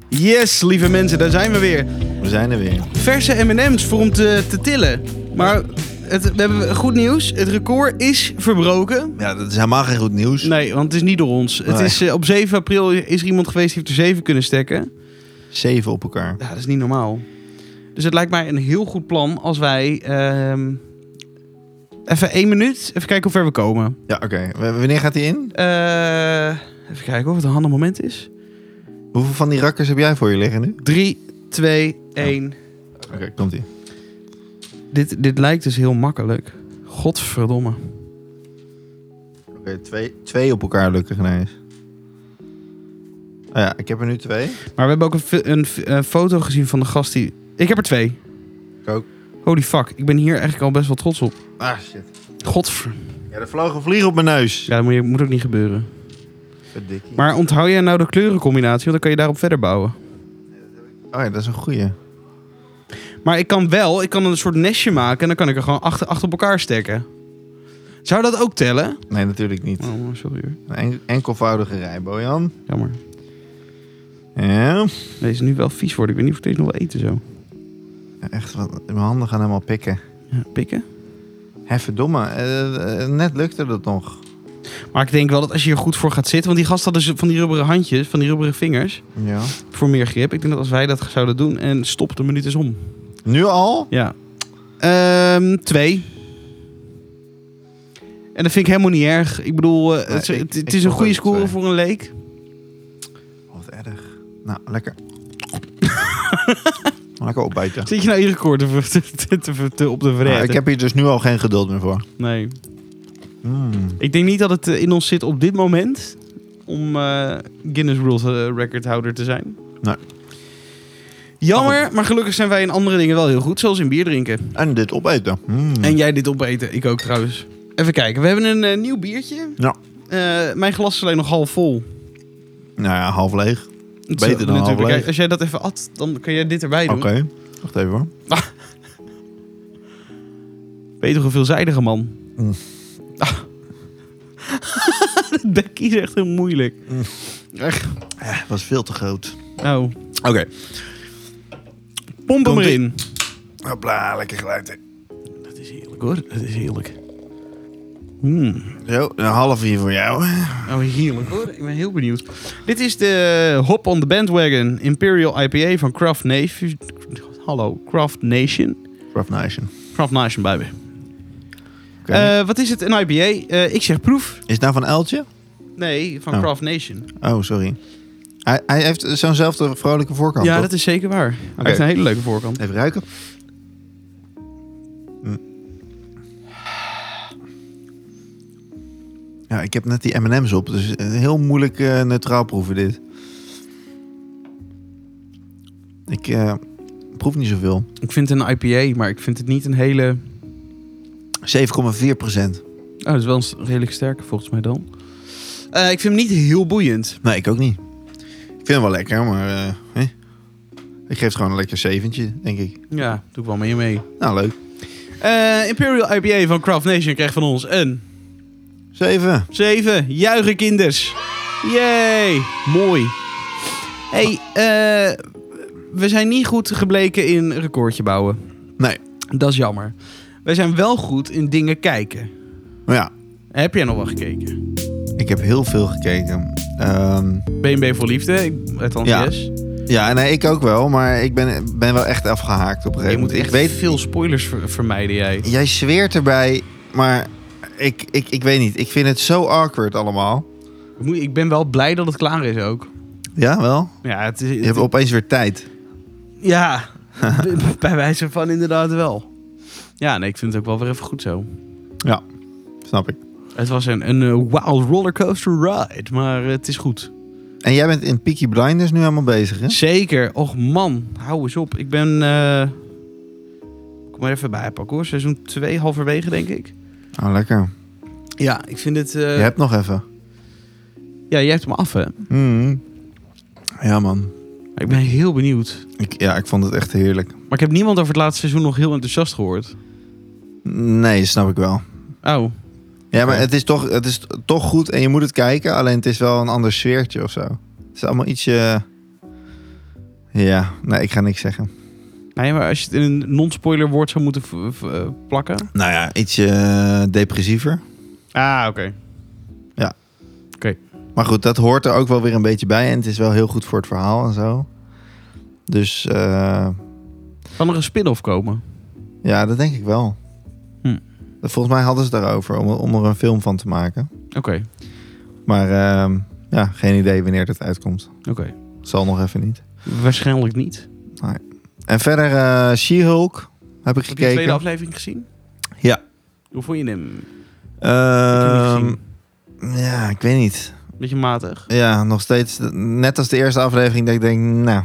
Speaker 1: Yes, lieve mensen, daar zijn we weer.
Speaker 2: We zijn er weer.
Speaker 1: Verse M&M's voor om te, te tillen. Maar het, we hebben goed nieuws. Het record is verbroken.
Speaker 2: Ja, dat is helemaal geen goed nieuws.
Speaker 1: Nee, want het is niet door ons. Het
Speaker 2: Nee.
Speaker 1: is, eh, op 7 april is er iemand geweest die heeft er 7 kunnen stekken.
Speaker 2: Zeven op elkaar.
Speaker 1: Ja, dat is niet normaal. Dus het lijkt mij een heel goed plan als wij... ehm, even één minuut, even kijken hoe ver we komen.
Speaker 2: Ja, oké. W- Wanneer gaat die in?
Speaker 1: Eh, even kijken of het een handig moment is.
Speaker 2: Hoeveel van die rakkers heb jij voor je liggen nu?
Speaker 1: 3, 2, 1...
Speaker 2: Oké, komt ie.
Speaker 1: Dit, dit lijkt dus heel makkelijk. Godverdomme.
Speaker 2: Oké, twee, twee op elkaar lukken ineens. Oh ja, ik heb er nu twee.
Speaker 1: Maar we hebben ook een, fi- een, fi- een foto gezien van de gast die... Ik heb er twee.
Speaker 2: Ik ook.
Speaker 1: Holy fuck, ik ben hier eigenlijk al best wel trots op.
Speaker 2: Ah, shit.
Speaker 1: Godver...
Speaker 2: Ja, er vloog een vlieg op mijn neus.
Speaker 1: Ja, dat moet, je- moet ook niet gebeuren.
Speaker 2: Verdikkie.
Speaker 1: Maar onthoud jij nou de kleurencombinatie, want dan kan je daarop verder bouwen.
Speaker 2: Oh ja, dat is een goeie.
Speaker 1: Maar ik kan wel, ik kan een soort nestje maken en dan kan ik er gewoon achter, achter op elkaar steken. Zou dat ook tellen?
Speaker 2: Nee, natuurlijk niet.
Speaker 1: Oh, sorry hoor.
Speaker 2: Een en- enkelvoudige rij, Bojan.
Speaker 1: Jammer.
Speaker 2: Ja.
Speaker 1: Deze nu wel vies worden. Ik weet niet of ik deze nog wel eten zo.
Speaker 2: Echt, wat, mijn handen gaan helemaal pikken.
Speaker 1: Ja, pikken.
Speaker 2: Hé, verdomme. eh, eh, net lukte dat nog.
Speaker 1: Maar ik denk wel dat als je hier goed voor gaat zitten... Want die gast had dus van die rubberen handjes, van die rubberen vingers...
Speaker 2: Ja.
Speaker 1: voor meer grip. Ik denk dat als wij dat zouden doen en stop, de minuut is om.
Speaker 2: Nu al?
Speaker 1: Ja. Ehm, twee. En dat vind ik helemaal niet erg. Ik bedoel, eh,
Speaker 2: Nee,
Speaker 1: het, is-
Speaker 2: ik-
Speaker 1: het- het
Speaker 2: ik
Speaker 1: is een
Speaker 2: vond eh,
Speaker 1: goede
Speaker 2: ook
Speaker 1: score
Speaker 2: twee.
Speaker 1: voor een leek.
Speaker 2: Wat erg. Nou, lekker. lekker opbijten.
Speaker 1: Zit je nou je record te, ver- te, te- te- te- op de vrede?
Speaker 2: Nou, ik heb hier dus nu al geen geduld meer voor.
Speaker 1: Nee.
Speaker 2: Mm.
Speaker 1: Ik denk niet dat het eh, in ons zit op dit moment om eh, Guinness World eh, Recordhouder te zijn.
Speaker 2: Nee.
Speaker 1: Jammer, maar gelukkig zijn wij in andere dingen wel heel goed, zoals in bier drinken.
Speaker 2: En dit opeten. Mm.
Speaker 1: En jij dit opeten, ik ook trouwens. Even kijken, we hebben een eh, nieuw biertje.
Speaker 2: Ja.
Speaker 1: Eh, mijn glas is alleen nog half vol.
Speaker 2: Nou ja, half leeg.
Speaker 1: Dat
Speaker 2: Beter
Speaker 1: is
Speaker 2: dan
Speaker 1: natuurlijk-
Speaker 2: half leeg.
Speaker 1: Kijk, Als jij dat even at, dan kan jij dit erbij
Speaker 2: Oké.
Speaker 1: doen.
Speaker 2: Wacht even hoor.
Speaker 1: Ben je toch een veelzijdige man?
Speaker 2: Mm.
Speaker 1: Ah. Dat bekkie is echt heel moeilijk.
Speaker 2: Eh, was veel te groot.
Speaker 1: Nou,
Speaker 2: Oké.
Speaker 1: pomp hem
Speaker 2: Komt-ie.
Speaker 1: erin.
Speaker 2: Hopla, lekker geluid.
Speaker 1: Dat is heerlijk hoor, dat is heerlijk. Mm.
Speaker 2: Zo, een half hier voor jou.
Speaker 1: Oh, heerlijk hoor, ik ben heel benieuwd. Dit is de Hop on the Bandwagon Imperial IPA van Craft Nation. Hallo, Craft Nation.
Speaker 2: Rough Nation.
Speaker 1: Craft Nation, baby.
Speaker 2: Oké.
Speaker 1: Eh, wat is het, een IPA? Eh, ik zeg proef.
Speaker 2: Is het nou van Eltje?
Speaker 1: Nee, van
Speaker 2: Oh.
Speaker 1: Craft Nation.
Speaker 2: Oh, sorry. Hij, hij heeft zo'nzelfde vrolijke voorkant.
Speaker 1: ja,
Speaker 2: toch?
Speaker 1: dat is zeker waar. Hij
Speaker 2: Oké.
Speaker 1: heeft een hele leuke voorkant.
Speaker 2: Even ruiken. Mm. Ja, ik heb net die M&M's op, dus eh, heel moeilijk eh, neutraal proeven dit. Ik eh, proef niet zoveel.
Speaker 1: Ik vind het een IPA, maar ik vind het niet een hele...
Speaker 2: 7,4 procent.
Speaker 1: Oh, dat is wel een s- redelijk sterke volgens mij dan. Eh, ik vind hem niet heel boeiend.
Speaker 2: Nee, ik ook niet. Ik vind hem wel lekker, maar eh, hè? ik geef het gewoon een lekker zeventje, denk ik.
Speaker 1: Ja, doe ik wel mee mee.
Speaker 2: Nou, leuk.
Speaker 1: Eh, Imperial IPA van Craft Nation krijgt van ons een...
Speaker 2: 7.
Speaker 1: 7. Juichen kinders. Yay. Mooi. hey, eh, we zijn niet goed gebleken in recordje bouwen.
Speaker 2: Nee.
Speaker 1: Dat is jammer. Wij zijn wel goed in dingen kijken.
Speaker 2: Maar ja,
Speaker 1: Heb jij nog wel gekeken?
Speaker 2: ik heb heel veel gekeken. Ehm
Speaker 1: BNB voor liefde, ik- althans
Speaker 2: Ja.
Speaker 1: yes.
Speaker 2: Ja, nee, ik ook wel, maar ik ben, ben wel echt afgehaakt op een
Speaker 1: Je
Speaker 2: gegeven
Speaker 1: moet
Speaker 2: moment.
Speaker 1: echt
Speaker 2: Ik weet,
Speaker 1: veel spoilers ver- vermijden jij.
Speaker 2: jij zweert erbij, maar ik, ik, ik weet niet. Ik vind het zo awkward allemaal.
Speaker 1: Ik moet- Ik ben wel blij dat het klaar is ook.
Speaker 2: Ja, wel?
Speaker 1: Ja, het is,
Speaker 2: Je hebt opeens weer tijd.
Speaker 1: ja b- bij wijze van inderdaad wel. Ja, nee, ik vind het ook wel weer even goed zo.
Speaker 2: Snap ik.
Speaker 1: Het was een, een eh, wild rollercoaster ride, maar eh, het is goed.
Speaker 2: En jij bent in Peaky Blinders nu helemaal bezig, hè?
Speaker 1: Zeker. Och man, hou eens op. Ik ben... eh, Kom maar even bij pakken hoor. Seizoen 2 halverwege denk ik.
Speaker 2: Oh, lekker.
Speaker 1: Ja, ik vind het...
Speaker 2: Je
Speaker 1: eh,
Speaker 2: hebt nog even.
Speaker 1: Ja, jij hebt hem af hè.
Speaker 2: Mm. Ja, man.
Speaker 1: Ik ben heel benieuwd.
Speaker 2: Ik, ja, ik vond het echt heerlijk.
Speaker 1: Maar ik heb niemand over het laatste seizoen nog heel enthousiast gehoord.
Speaker 2: Nee, snap ik wel.
Speaker 1: Oh,
Speaker 2: Ja, maar
Speaker 1: Oké.
Speaker 2: het is, toch, het is toch goed en je moet het kijken. Alleen het is wel een ander sfeertje of zo. Het is allemaal ietsje... Ja, nee, ik ga niks zeggen.
Speaker 1: nee, maar als je het in een non-spoiler woord zou moeten v- v- eh, plakken.
Speaker 2: Nou ja, ietsje eh, depressiever.
Speaker 1: Ah, oké.
Speaker 2: Maar goed, dat hoort er ook wel weer een beetje bij. En het is wel heel goed voor het verhaal en zo. Dus eh,
Speaker 1: Kan er een spin-off komen?
Speaker 2: ja, dat denk ik wel.
Speaker 1: Hm.
Speaker 2: Volgens mij hadden ze het daarover om, om er een film van te maken.
Speaker 1: Oké,
Speaker 2: Maar ehm, ja, geen idee wanneer dat uitkomt.
Speaker 1: oké.
Speaker 2: Zal nog even niet.
Speaker 1: Waarschijnlijk niet.
Speaker 2: En verder eh She-Hulk heb
Speaker 1: Heb
Speaker 2: ik
Speaker 1: je de tweede
Speaker 2: gekeken.
Speaker 1: aflevering gezien?
Speaker 2: Ja.
Speaker 1: Hoe vond je hem?
Speaker 2: Ehm,
Speaker 1: Ehm
Speaker 2: ja, ik weet niet.
Speaker 1: Beetje matig.
Speaker 2: Ja, nog steeds. Net als de eerste aflevering dat ik denk, nou,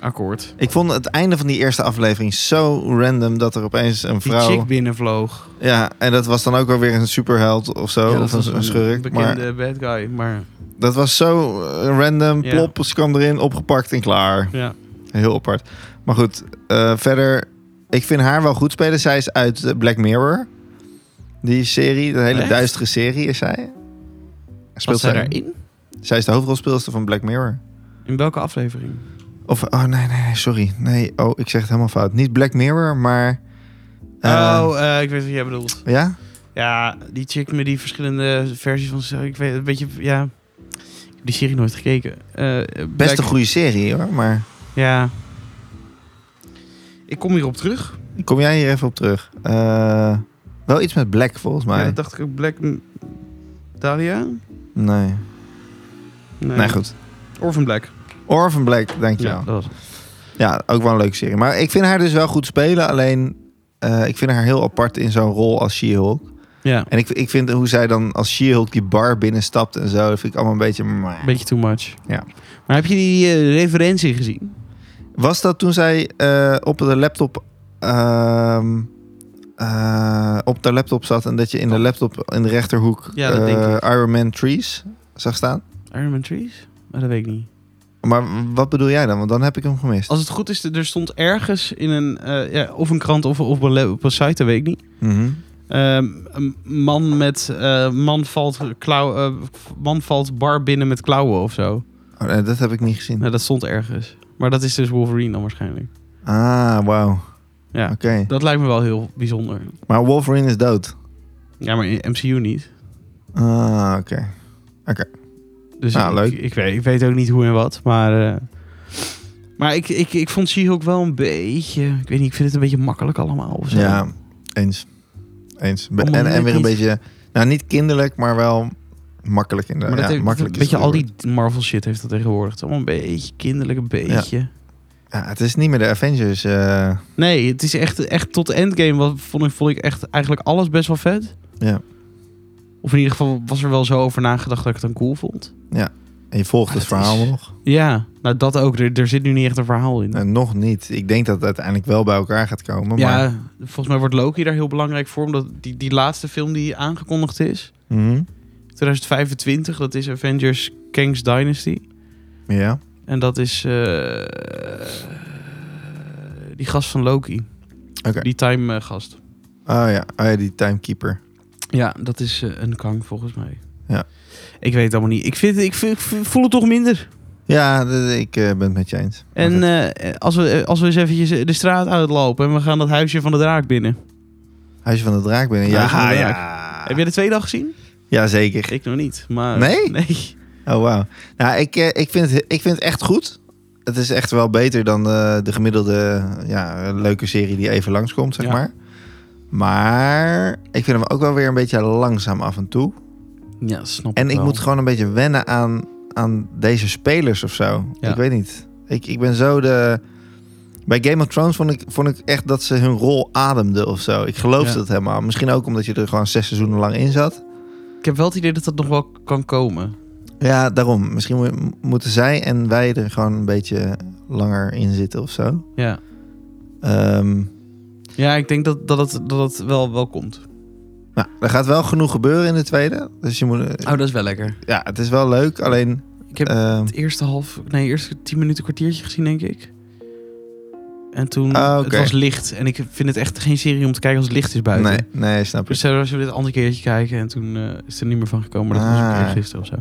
Speaker 1: Akkoord.
Speaker 2: Ik vond het einde van die eerste aflevering zo random dat er opeens een
Speaker 1: Die
Speaker 2: vrouw.
Speaker 1: chick binnenvloog.
Speaker 2: Ja, en dat was dan ook wel weer een superheld of zo.
Speaker 1: Ja, Oh, dat
Speaker 2: of een,
Speaker 1: was
Speaker 2: een schurk. Maar
Speaker 1: bekende bad guy, maar
Speaker 2: dat was zo eh, random.
Speaker 1: Ja.
Speaker 2: Plop, ze kwam erin, opgepakt en klaar.
Speaker 1: ja.
Speaker 2: Heel apart. Maar goed, eh, verder. Ik vind haar wel goed spelen. Zij is uit eh, Black Mirror. Die serie, een hele
Speaker 1: Echt?
Speaker 2: duistere serie is zij.
Speaker 1: Speelt zij daarin?
Speaker 2: Zij is de hoofdrolspeelster van Black Mirror.
Speaker 1: In welke aflevering?
Speaker 2: Of, oh nee, nee, nee, sorry. Nee, oh, ik zeg het helemaal fout. Niet Black Mirror, maar... eh,
Speaker 1: oh, eh, ik weet wat jij bedoelt.
Speaker 2: Ja?
Speaker 1: Ja, die chick met die verschillende versies van zichzelf. Ik weet een beetje, ja... Ik heb die serie nooit gekeken. Eh,
Speaker 2: Best een
Speaker 1: Black-
Speaker 2: goede serie hoor, maar...
Speaker 1: Ja. Ik kom hierop terug.
Speaker 2: Kom jij hier even op terug? Eh, wel iets met Black volgens mij.
Speaker 1: Ja, dat dacht ik ook. Black M- Dahlia?
Speaker 2: nee. nee. goed.
Speaker 1: Orphan Black.
Speaker 2: Orphan Black, dankjewel.
Speaker 1: Ja,
Speaker 2: Ja.
Speaker 1: dat was het.
Speaker 2: ja, ook wel een leuke serie. Maar ik vind haar dus wel goed spelen. Alleen, eh, ik vind haar heel apart in zo'n rol als She-Hulk.
Speaker 1: Ja,
Speaker 2: En ik, ik vind hoe zij dan als She-Hulk die bar binnenstapt en zo... Dat vind ik allemaal een beetje... meh.
Speaker 1: een beetje too much.
Speaker 2: Ja.
Speaker 1: Maar heb je die eh, referentie gezien?
Speaker 2: Was dat toen zij eh, op de laptop. ehm, eh, op de laptop zat en dat je in de laptop in de rechterhoek
Speaker 1: Oh. Ja, dat
Speaker 2: eh,
Speaker 1: denk
Speaker 2: Iron Man Trees zag staan?
Speaker 1: Iron Man Trees? Maar dat weet ik niet.
Speaker 2: Maar wat bedoel jij dan? Want dan heb ik hem gemist.
Speaker 1: Als het goed is, er stond ergens in een... eh, ja, of een krant of, of op een site, dat weet ik niet.
Speaker 2: Mhm.
Speaker 1: Ehm, een man met... eh, man, valt klauw, eh, man valt bar binnen met klauwen of zo.
Speaker 2: Oh, nee, dat heb ik niet gezien.
Speaker 1: Nou, dat stond ergens. Maar dat is dus Wolverine dan waarschijnlijk.
Speaker 2: Ah, wauw.
Speaker 1: Ja.
Speaker 2: Oké.
Speaker 1: Dat lijkt me wel heel bijzonder.
Speaker 2: Maar Wolverine is dood.
Speaker 1: Ja, maar in MCU niet.
Speaker 2: Ah, oké.
Speaker 1: Dus
Speaker 2: Nou,
Speaker 1: ik,
Speaker 2: leuk.
Speaker 1: Ik, weet, ik weet ook niet hoe en wat, maar... eh, maar ik, ik, ik vond She-Hulk wel een beetje... Ik weet niet, ik vind het een beetje makkelijk allemaal. Of zo.
Speaker 2: Ja, eens. Eens. Be-
Speaker 1: Allemaal
Speaker 2: en, en
Speaker 1: net
Speaker 2: weer een
Speaker 1: niet-
Speaker 2: beetje. Nou, niet kinderlijk, maar wel makkelijk in de.
Speaker 1: Maar dat
Speaker 2: ja,
Speaker 1: heeft,
Speaker 2: makkelijk
Speaker 1: een
Speaker 2: is
Speaker 1: beetje
Speaker 2: het
Speaker 1: al
Speaker 2: woord.
Speaker 1: die Marvel shit heeft dat tegenwoordig. Het is allemaal een beetje kinderlijk, een beetje.
Speaker 2: Ja, het is niet meer de Avengers. eh,
Speaker 1: Nee, het is echt, echt tot de endgame wat, vond, ik, vond ik echt eigenlijk alles best wel vet.
Speaker 2: Ja.
Speaker 1: Of in ieder geval was er wel zo over nagedacht dat ik het dan cool vond.
Speaker 2: en je volgt
Speaker 1: Maar Ah,
Speaker 2: het
Speaker 1: dat is-
Speaker 2: verhaal nog.
Speaker 1: Ja, nou dat ook. Er, er zit nu niet echt een verhaal in.
Speaker 2: Nou, nog niet. Ik denk dat het uiteindelijk wel bij elkaar gaat komen. Maar...
Speaker 1: Ja, volgens mij wordt Loki daar heel belangrijk voor. Omdat die, die laatste film die aangekondigd is,
Speaker 2: Mhm.
Speaker 1: 2025, dat is Avengers Kang's Dynasty.
Speaker 2: ja.
Speaker 1: En dat is eh, die gast van Loki.
Speaker 2: Oké.
Speaker 1: Die time eh, gast.
Speaker 2: Oh, ja. oh ja, die timekeeper.
Speaker 1: Ja, dat is eh, een kang volgens mij.
Speaker 2: Ja.
Speaker 1: Ik weet het allemaal niet. Ik, vind, ik, vind- ik voel het toch minder.
Speaker 2: Ja, d- ik eh, ben het met je eens. Maar
Speaker 1: En
Speaker 2: goed.
Speaker 1: eh, als, we, als we eens eventjes eh, de straat uitlopen en we gaan dat huisje van de draak binnen.
Speaker 2: Huisje van de Draak binnen. Ja,
Speaker 1: Huisje van de Draak.
Speaker 2: ja.
Speaker 1: Heb je de tweede al gezien?
Speaker 2: ja zeker.
Speaker 1: Ik nog niet. Maar,
Speaker 2: Nee?
Speaker 1: Nee.
Speaker 2: Oh, wauw. Nou, ik, eh, ik, vind het, ik vind het echt goed. Het is echt wel beter dan eh, de gemiddelde ja, leuke serie die even langskomt, zeg
Speaker 1: Ja.
Speaker 2: maar. Maar ik vind hem ook wel weer een beetje langzaam af en toe.
Speaker 1: Ja, snap
Speaker 2: En
Speaker 1: ik
Speaker 2: ik
Speaker 1: wel.
Speaker 2: moet gewoon een beetje wennen aan, aan deze spelers of zo.
Speaker 1: Ja.
Speaker 2: Ik weet niet. Ik, ik ben zo de... Bij Game of Thrones vond ik, vond ik echt dat ze hun rol ademden of zo. Ik geloofde
Speaker 1: Ja.
Speaker 2: dat helemaal. Misschien ook omdat je er gewoon zes seizoenen lang in zat.
Speaker 1: Ik heb wel het idee dat dat nog wel kan komen.
Speaker 2: Ja, daarom. Misschien mo- moeten zij en wij er gewoon een beetje langer in zitten of zo.
Speaker 1: Ja,
Speaker 2: Ehm,
Speaker 1: ja ik denk dat dat, het, dat het wel, wel komt.
Speaker 2: nou, er gaat wel genoeg gebeuren in de tweede. Dus je moet...
Speaker 1: Oh, dat is wel lekker.
Speaker 2: Ja, het is wel leuk. Alleen...
Speaker 1: Ik heb
Speaker 2: ehm,
Speaker 1: het eerste half, nee, eerste tien minuten kwartiertje gezien, denk ik. En toen,
Speaker 2: Ah, oké.
Speaker 1: het was licht. En ik vind het echt geen serie om te kijken als het licht is buiten.
Speaker 2: nee, nee, snap ik.
Speaker 1: Dus zouden we dit een ander keertje kijken en toen eh, is het er niet meer van gekomen. Maar dat was
Speaker 2: Ah.
Speaker 1: ook weer gisteren of zo.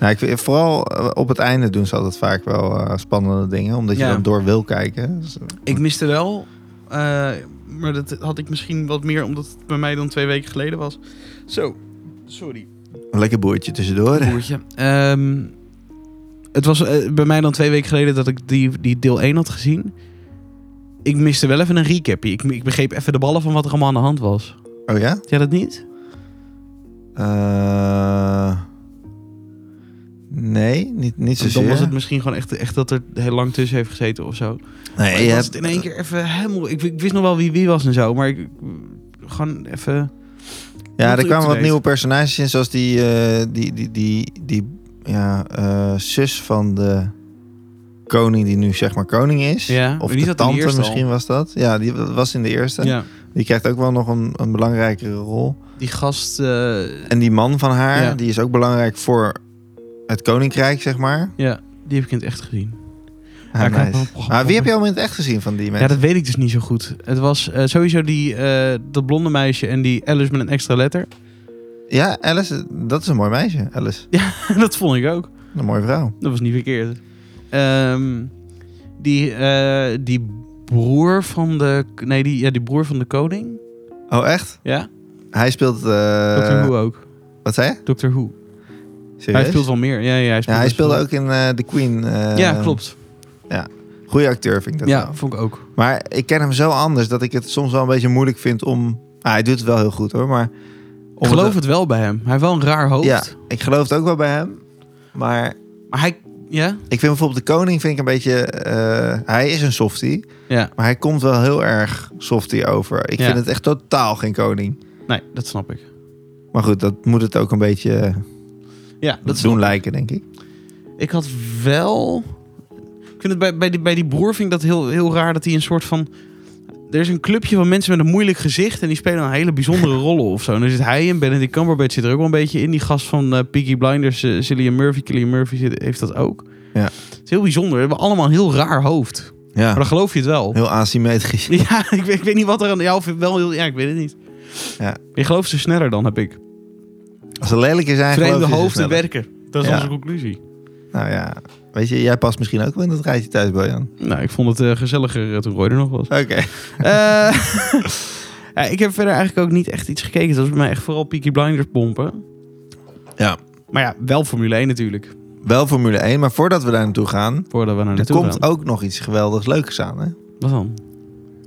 Speaker 2: Nou, ik, vind- vooral eh, op het einde doen ze altijd vaak wel eh, spannende dingen, omdat je
Speaker 1: Ja.
Speaker 2: dan door wil kijken. Dus, eh,
Speaker 1: Ik miste wel, eh, maar dat had ik misschien wat meer omdat het bij mij dan twee weken geleden was. Zo, sorry.
Speaker 2: een lekker boertje tussendoor.
Speaker 1: Boertje. Ehm, het was eh, bij mij dan twee weken geleden dat ik die, die deel 1 had gezien. Ik miste wel even een recapje. Ik, ik begreep even de ballen van wat er allemaal aan de hand was.
Speaker 2: Oh ja?
Speaker 1: Had jij dat niet?
Speaker 2: Eh, nee, niet, niet zozeer.
Speaker 1: dan was het misschien gewoon echt, echt dat er heel lang tussen heeft gezeten of zo.
Speaker 2: nee,
Speaker 1: Maar
Speaker 2: je
Speaker 1: ik was
Speaker 2: hebt-
Speaker 1: het in één keer even helemaal... Ik, ik wist nog wel wie wie was en zo, maar ik... Gewoon even...
Speaker 2: Ja, er
Speaker 1: up-to-date.
Speaker 2: kwamen wat nieuwe personages in, zoals die, eh, die, die, die, die ja, eh, zus van de koning die nu zeg maar koning is.
Speaker 1: Ja, maar
Speaker 2: of
Speaker 1: die zat in
Speaker 2: de
Speaker 1: de
Speaker 2: tante
Speaker 1: eerste
Speaker 2: misschien was dat. Ja, die was in de eerste.
Speaker 1: Ja.
Speaker 2: Die krijgt ook wel nog een, een belangrijkere rol.
Speaker 1: Die gast... eh,
Speaker 2: En die man van haar,
Speaker 1: Ja.
Speaker 2: die is ook belangrijk voor het koninkrijk, zeg maar.
Speaker 1: ja, die heb ik in het echt gezien.
Speaker 2: Ah,
Speaker 1: ik had
Speaker 2: nice.
Speaker 1: wel-
Speaker 2: Maar wie heb je allemaal in het echt gezien van die
Speaker 1: Ja,
Speaker 2: mensen?
Speaker 1: dat weet ik dus niet zo goed. Het was eh, sowieso die, eh, dat blonde meisje en die Alice met een extra letter.
Speaker 2: Ja, Alice, dat is een mooi meisje. Alice,
Speaker 1: dat vond ik ook.
Speaker 2: een mooie vrouw.
Speaker 1: Dat was niet verkeerd. Ehm, die, eh, die broer van de... Nee, die, ja, die broer van de koning.
Speaker 2: Oh, echt?
Speaker 1: Ja,
Speaker 2: Hij speelt... eh,
Speaker 1: Doctor Who ook.
Speaker 2: wat zei je?
Speaker 1: Doctor Who.
Speaker 2: Serieus?
Speaker 1: Hij speelt wel meer. Ja, ja, hij
Speaker 2: ja,
Speaker 1: speelt
Speaker 2: hij
Speaker 1: best
Speaker 2: speelde
Speaker 1: wel.
Speaker 2: ook in eh The Queen. eh,
Speaker 1: Ja, klopt.
Speaker 2: Goeie acteur vind ik dat
Speaker 1: Ja,
Speaker 2: wel.
Speaker 1: vond ik ook.
Speaker 2: Maar ik ken hem zo anders dat ik het soms wel een beetje moeilijk vind om... Ah, hij doet het wel heel goed hoor, maar...
Speaker 1: Ik
Speaker 2: om
Speaker 1: geloof het wel bij hem. Hij heeft wel een raar hoofd.
Speaker 2: Ja, ik geloof het ook wel bij hem. Maar
Speaker 1: Maar hij... Ja?
Speaker 2: ik vind bijvoorbeeld de koning vind ik een beetje... eh, hij is een softie,
Speaker 1: Ja.
Speaker 2: maar hij komt wel heel erg softie over. Ik
Speaker 1: Ja.
Speaker 2: vind het echt totaal geen koning.
Speaker 1: Nee, dat snap ik.
Speaker 2: Maar goed, dat moet het ook een beetje eh,
Speaker 1: Ja, dat snap
Speaker 2: doen
Speaker 1: ik.
Speaker 2: lijken, denk ik.
Speaker 1: Ik had wel... Ik vind het bij, bij, die, bij die broer vind ik dat heel, heel raar dat hij een soort van... Er is een clubje van mensen met een moeilijk gezicht en die spelen een hele bijzondere rollen of zo. En dan zit hij in, Benedict Cumberbatch zit er ook wel een beetje in. Die gast van eh Peaky Blinders, eh, Cillian Murphy, Cillian Murphy zit- heeft dat ook.
Speaker 2: Ja.
Speaker 1: Het is heel bijzonder. We hebben allemaal een heel raar hoofd. Maar
Speaker 2: Ja,
Speaker 1: dan geloof je het wel.
Speaker 2: heel asymmetrisch.
Speaker 1: Ja, ik, weet- ik weet niet wat er aan... Ja, of wel heel... Ja, ik weet het niet.
Speaker 2: Ja.
Speaker 1: Je gelooft ze sneller dan, heb ik.
Speaker 2: Als ze lelijker zijn, geloof
Speaker 1: Vreemde
Speaker 2: je ze
Speaker 1: hoofden
Speaker 2: sneller.
Speaker 1: werken. Dat is
Speaker 2: Ja.
Speaker 1: onze conclusie.
Speaker 2: Nou ja, weet je, jij past misschien ook wel in dat rijtje thuis, Bojan.
Speaker 1: Nou, ik vond het eh, gezelliger eh, toen Roy er nog was.
Speaker 2: Oké.
Speaker 1: Eh, ja, ik heb verder eigenlijk ook niet echt iets gekeken. Dat was bij mij echt vooral Peaky Blinders pompen.
Speaker 2: Ja.
Speaker 1: Maar ja, wel Formule 1 natuurlijk.
Speaker 2: Wel Formule 1, maar voordat we daar naartoe gaan,
Speaker 1: Voordat we naar
Speaker 2: er
Speaker 1: naartoe
Speaker 2: komt
Speaker 1: gaan.
Speaker 2: ook nog iets geweldigs leuks aan, hè?
Speaker 1: Wat dan?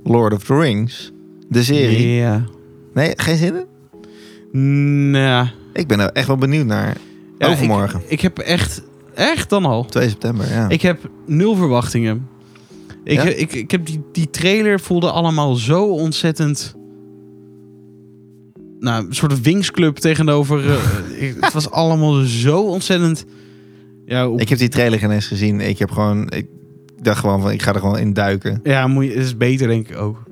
Speaker 2: Lord of the Rings, de serie.
Speaker 1: Ja.
Speaker 2: Nee, geen zin in?
Speaker 1: Nou,
Speaker 2: Ik ben er echt wel benieuwd naar.
Speaker 1: ja,
Speaker 2: Overmorgen.
Speaker 1: Ik, ik heb echt... Echt dan al?
Speaker 2: 2 september, ja.
Speaker 1: Ik heb nul verwachtingen. Ik,
Speaker 2: Ja?
Speaker 1: ik, ik heb die, die trailer voelde allemaal zo ontzettend. Nou, een soort wingsclub tegenover. eh, ik- het was allemaal zo ontzettend. Ja, op-
Speaker 2: Ik heb die trailer geen eens gezien. Ik heb gewoon, ik dacht gewoon van, ik ga er gewoon in duiken.
Speaker 1: ja moet je, het is beter, denk ik ook.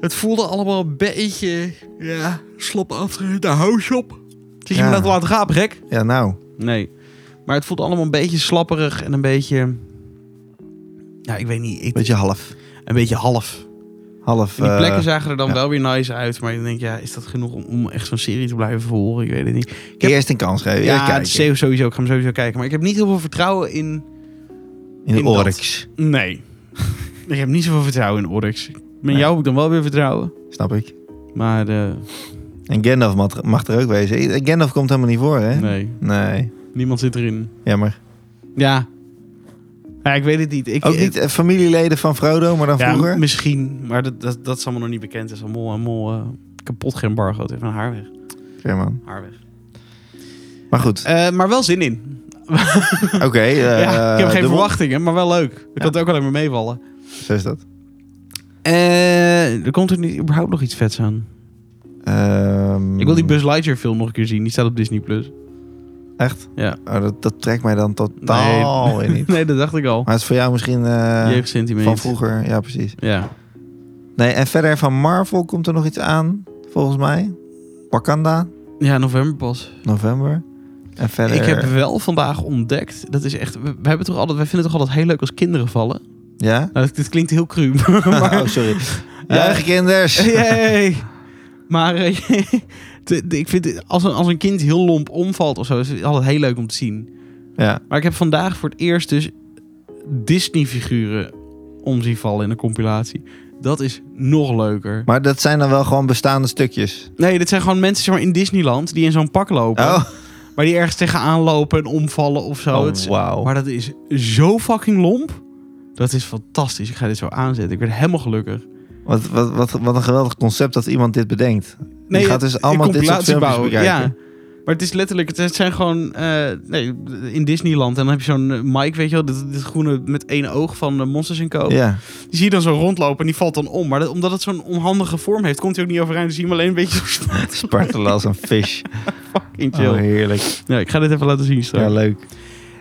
Speaker 1: Het voelde allemaal een beetje. Ja, slop afgereden, hou op. Zit je
Speaker 2: Ja.
Speaker 1: me dat laten gaan, gek?
Speaker 2: Ja, nou.
Speaker 1: Nee. Maar het voelt allemaal een beetje slapperig en een beetje. Ja, ik weet niet. Ik,
Speaker 2: Beetje half.
Speaker 1: een beetje half.
Speaker 2: Half.
Speaker 1: En die
Speaker 2: eh,
Speaker 1: plekken zagen er dan
Speaker 2: ja.
Speaker 1: wel weer nice uit. Maar dan denk ik, ja, is dat genoeg om, om echt zo'n serie te blijven volgen? Ik weet het niet. heb-
Speaker 2: Eerst een kans geven. Ja,
Speaker 1: Eh, Ja, het
Speaker 2: kijk.
Speaker 1: is sowieso. Ik ga hem sowieso kijken. Maar ik heb niet heel veel vertrouwen in...
Speaker 2: In de
Speaker 1: in dat.
Speaker 2: Oryx.
Speaker 1: Nee. ik heb niet zoveel vertrouwen in Oryx. Met
Speaker 2: Nee.
Speaker 1: jou heb ik dan wel weer vertrouwen.
Speaker 2: Snap ik.
Speaker 1: Maar eh,
Speaker 2: En Gandalf mag- mag er ook wezen. Gandalf komt helemaal niet voor, hè?
Speaker 1: nee,
Speaker 2: Nee.
Speaker 1: niemand zit erin.
Speaker 2: Jammer.
Speaker 1: Ja. Ja, ik weet het niet. Ik,
Speaker 2: Ook niet eh, familieleden van Frodo, maar dan
Speaker 1: ja,
Speaker 2: vroeger?
Speaker 1: misschien. Maar dat, dat, dat is allemaal nog niet bekend. Dat is allemaal, allemaal eh, kapot geëmbargoed. Even een haar weg.
Speaker 2: Oké, man.
Speaker 1: Haar weg.
Speaker 2: Maar goed,
Speaker 1: Eh, maar wel zin in.
Speaker 2: oké. eh,
Speaker 1: ja, ik heb geen
Speaker 2: de wol-
Speaker 1: verwachtingen, maar wel leuk. Ik had ook alleen maar meevallen.
Speaker 2: Zo is dat.
Speaker 1: Eh, er komt er niet überhaupt nog iets vets aan.
Speaker 2: Ehm,
Speaker 1: Ik wil die Buzz Lightyear film nog een keer zien. Die staat op Disney+. Plus.
Speaker 2: Echt?
Speaker 1: Ja.
Speaker 2: Oh, dat, dat trekt mij dan totaal weer niet.
Speaker 1: nee, dat dacht ik al.
Speaker 2: Maar het is voor jou misschien eh,
Speaker 1: Jeugdsentiment.
Speaker 2: van vroeger. Ja, precies.
Speaker 1: Ja.
Speaker 2: Nee, en verder van Marvel komt er nog iets aan, volgens mij. Wakanda,
Speaker 1: ja, november pas.
Speaker 2: november. En verder...
Speaker 1: Ik heb wel vandaag ontdekt... Dat is echt... We, we hebben toch altijd, wij vinden het toch altijd heel leuk als kinderen vallen?
Speaker 2: Ja?
Speaker 1: Nou, dat- dit klinkt heel cru. maar,
Speaker 2: oh, sorry. Juichen, kinders!
Speaker 1: Yay. Maar eh, de- de- ik vind... het- Als een, als een kind heel lomp omvalt of zo... is het altijd heel leuk om te zien.
Speaker 2: Ja,
Speaker 1: Maar ik heb vandaag voor het eerst dus Disney-figuren om zien vallen in een compilatie. Dat is nog leuker.
Speaker 2: maar dat zijn dan wel gewoon bestaande stukjes.
Speaker 1: Nee, dit zijn gewoon mensen zeg maar, in Disneyland die in zo'n pak lopen.
Speaker 2: Oh,
Speaker 1: Maar die ergens tegenaan lopen en omvallen of zo. Het
Speaker 2: oh
Speaker 1: is-
Speaker 2: wauw.
Speaker 1: Maar dat is zo fucking lomp. Dat is fantastisch. Ik ga dit zo aanzetten. Ik werd helemaal gelukkig.
Speaker 2: Wat, wat, wat, wat een geweldig concept dat iemand dit bedenkt.
Speaker 1: Nee,
Speaker 2: gaat dus
Speaker 1: een
Speaker 2: allemaal dit soort
Speaker 1: compilatie
Speaker 2: filmpjes bekijken.
Speaker 1: Ja. Maar het is letterlijk, het zijn gewoon eh, nee, in Disneyland. En dan heb je zo'n eh, Mike, weet je wel, dit, dit groene met één oog van eh, Monsters Co.
Speaker 2: Ja.
Speaker 1: Die zie je dan zo rondlopen en die valt dan om. Maar dat- omdat het zo'n onhandige vorm heeft, komt hij ook niet overeind. Dus zie je hem alleen een beetje zo
Speaker 2: Spartelen als een vis.
Speaker 1: fucking chill.
Speaker 2: Oh, heerlijk.
Speaker 1: Ja, ik ga dit even laten zien straks.
Speaker 2: Ja, leuk.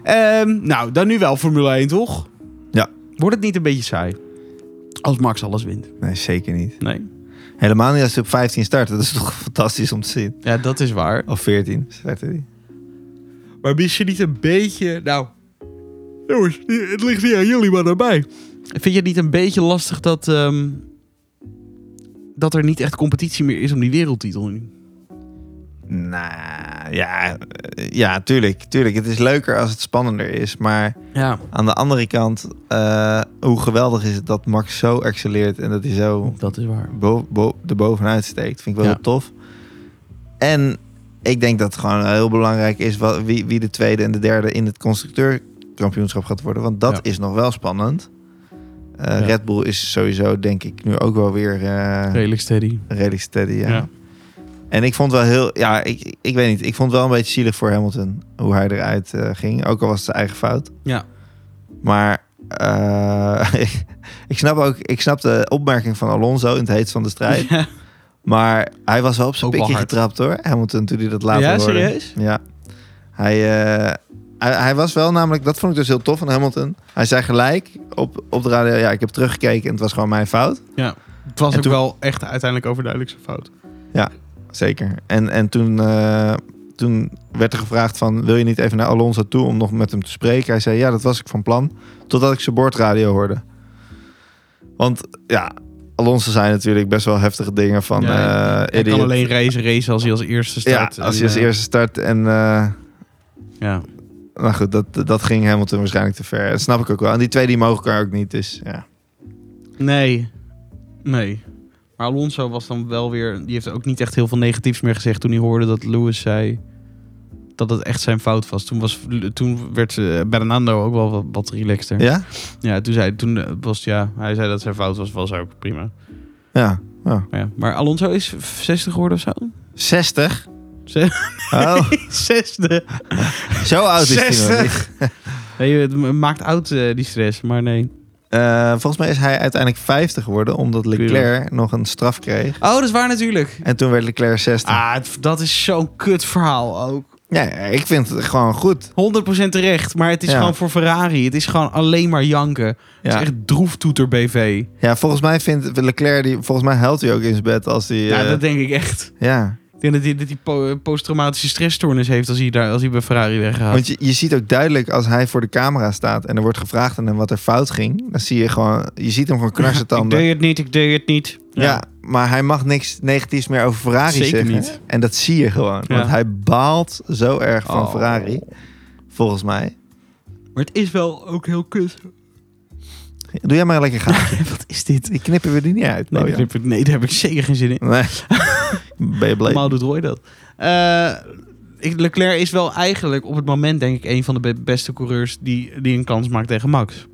Speaker 1: Ehm, nou, dan nu wel Formule 1, toch?
Speaker 2: Ja.
Speaker 1: Wordt het niet een beetje saai? Als Max alles wint.
Speaker 2: Nee, zeker niet.
Speaker 1: Nee.
Speaker 2: Helemaal niet als ze op 15 starten. Dat is toch fantastisch om te zien.
Speaker 1: Ja, dat is waar.
Speaker 2: Of 14 starten die.
Speaker 1: Maar mis je niet een beetje... Nou, Jongens, het ligt niet aan jullie, maar aan mij. Vind je het niet een beetje lastig dat, ehm, dat er niet echt competitie meer is om die wereldtitel? nu?
Speaker 2: Nou, ja, eh, ja tuurlijk, tuurlijk. Het is leuker als het spannender is. Maar
Speaker 1: Ja,
Speaker 2: aan de andere kant, eh, hoe geweldig is het dat Max zo excelleert en dat hij zo
Speaker 1: dat is waar.
Speaker 2: bo bo erbovenuit steekt. Vind ik
Speaker 1: Ja.
Speaker 2: wel heel tof. En ik denk dat het gewoon heel belangrijk is wa- wie, wie de tweede en de derde in het constructeurkampioenschap gaat worden. Want dat
Speaker 1: Ja.
Speaker 2: is nog wel spannend. Eh,
Speaker 1: Ja.
Speaker 2: Red Bull is sowieso, denk ik, nu ook wel weer eh,
Speaker 1: Redelijk steady.
Speaker 2: redelijk steady. Ja.
Speaker 1: Ja.
Speaker 2: En ik vond wel heel, ja, ik, ik weet niet, ik vond wel een beetje zielig voor Hamilton hoe hij eruit eh, ging. Ook al was het zijn eigen fout.
Speaker 1: Ja.
Speaker 2: Maar eh, ik snap ook, ik snap de opmerking van Alonso in het heet van de strijd.
Speaker 1: Ja.
Speaker 2: Maar hij was wel op zijn
Speaker 1: Ook wel
Speaker 2: pikje
Speaker 1: hard.
Speaker 2: getrapt hoor. Hamilton toen hij dat later
Speaker 1: Ja,
Speaker 2: hoorde.
Speaker 1: serieus?
Speaker 2: Ja. Hij, eh, hij, hij was wel namelijk, dat vond ik dus heel tof van Hamilton. Hij zei gelijk op, op de radio, ja ik heb teruggekeken en het was gewoon mijn fout.
Speaker 1: Het was
Speaker 2: En
Speaker 1: ook
Speaker 2: toen-
Speaker 1: wel echt uiteindelijk overduidelijk zijn fout.
Speaker 2: Zeker. En, en toen, eh, toen werd er gevraagd van, wil je niet even naar Alonso toe om nog met hem te spreken? Hij zei, ja dat was ik van plan. Totdat ik zijn bordradio hoorde. Want ja, Alonso zei natuurlijk best wel heftige dingen van...
Speaker 1: Ja,
Speaker 2: eh,
Speaker 1: Hij kan
Speaker 2: idiot.
Speaker 1: alleen racen, racen als hij als eerste
Speaker 2: Ja,
Speaker 1: start.
Speaker 2: als
Speaker 1: En,
Speaker 2: je als
Speaker 1: eh,
Speaker 2: eerste start en... eh,
Speaker 1: Ja.
Speaker 2: Nou goed, dat, dat ging Hamilton waarschijnlijk te ver. Dat snap ik ook wel. En die twee die mogen elkaar ook niet, dus ja.
Speaker 1: Nee. Nee. Maar Alonso was dan wel weer... Die heeft ook niet echt heel veel negatiefs meer gezegd toen hij hoorde dat Lewis zei... Dat het echt zijn fout was. Toen, was, toen werd eh, Bernardo ook wel wat, wat relaxter.
Speaker 2: Ja?
Speaker 1: Ja, toen, zei, toen eh, was het, ja, hij zei dat zijn fout was, was ook prima.
Speaker 2: Ja.
Speaker 1: Maar, ja. maar Alonso is v- 60 geworden of zo?
Speaker 2: 60?
Speaker 1: Ze-
Speaker 2: Oh,
Speaker 1: Zesde.
Speaker 2: zo oud is hij nog
Speaker 1: 60?
Speaker 2: niet.
Speaker 1: Nee, het ma- maakt oud eh, die stress, maar nee.
Speaker 2: Eh, volgens mij is hij uiteindelijk 50 geworden, omdat Leclerc nog een straf kreeg.
Speaker 1: Oh, dat is waar natuurlijk.
Speaker 2: En toen werd Leclerc 60.
Speaker 1: Ah, het- dat is zo'n kut verhaal ook.
Speaker 2: Ja, ik vind het gewoon goed.
Speaker 1: 100% terecht, maar het is
Speaker 2: Ja.
Speaker 1: gewoon voor Ferrari. Het is gewoon alleen maar janken. Het
Speaker 2: Ja,
Speaker 1: is echt droeftoeter BV.
Speaker 2: ja volgens mij vindt Leclerc, die, volgens mij huilt hij ook in zijn bed als hij...
Speaker 1: Ja,
Speaker 2: eh,
Speaker 1: dat denk ik echt.
Speaker 2: ja.
Speaker 1: Ik denk dat hij, dat hij po- eh, posttraumatische stressstoornis heeft als hij, daar, als hij bij Ferrari weggaat.
Speaker 2: Want je, je ziet ook duidelijk als hij voor de camera staat en er wordt gevraagd aan hem wat er fout ging. Dan zie je gewoon, je ziet hem gewoon knarsen
Speaker 1: ik
Speaker 2: tanden.
Speaker 1: deed het niet, ik deed het niet.
Speaker 2: Ja. maar hij mag niks negatiefs meer over Ferrari
Speaker 1: Zeker
Speaker 2: zeggen.
Speaker 1: niet.
Speaker 2: En dat zie je gewoon.
Speaker 1: Ja.
Speaker 2: Want hij baalt zo erg van
Speaker 1: Oh.
Speaker 2: Ferrari, volgens mij.
Speaker 1: Maar het is wel ook heel kut.
Speaker 2: Doe jij maar lekker gaan.
Speaker 1: Wat is dit?
Speaker 2: Die knippen we er niet uit.
Speaker 1: Nee,
Speaker 2: Bojan.
Speaker 1: daar heb ik, nee, daar heb ik zeker geen zin in.
Speaker 2: Nee. ben je blij?
Speaker 1: Normaal doet Roy dat. Eh, ik, Leclerc is wel eigenlijk op het moment, denk ik, een van de be- beste coureurs die, die een kans maakt tegen Max.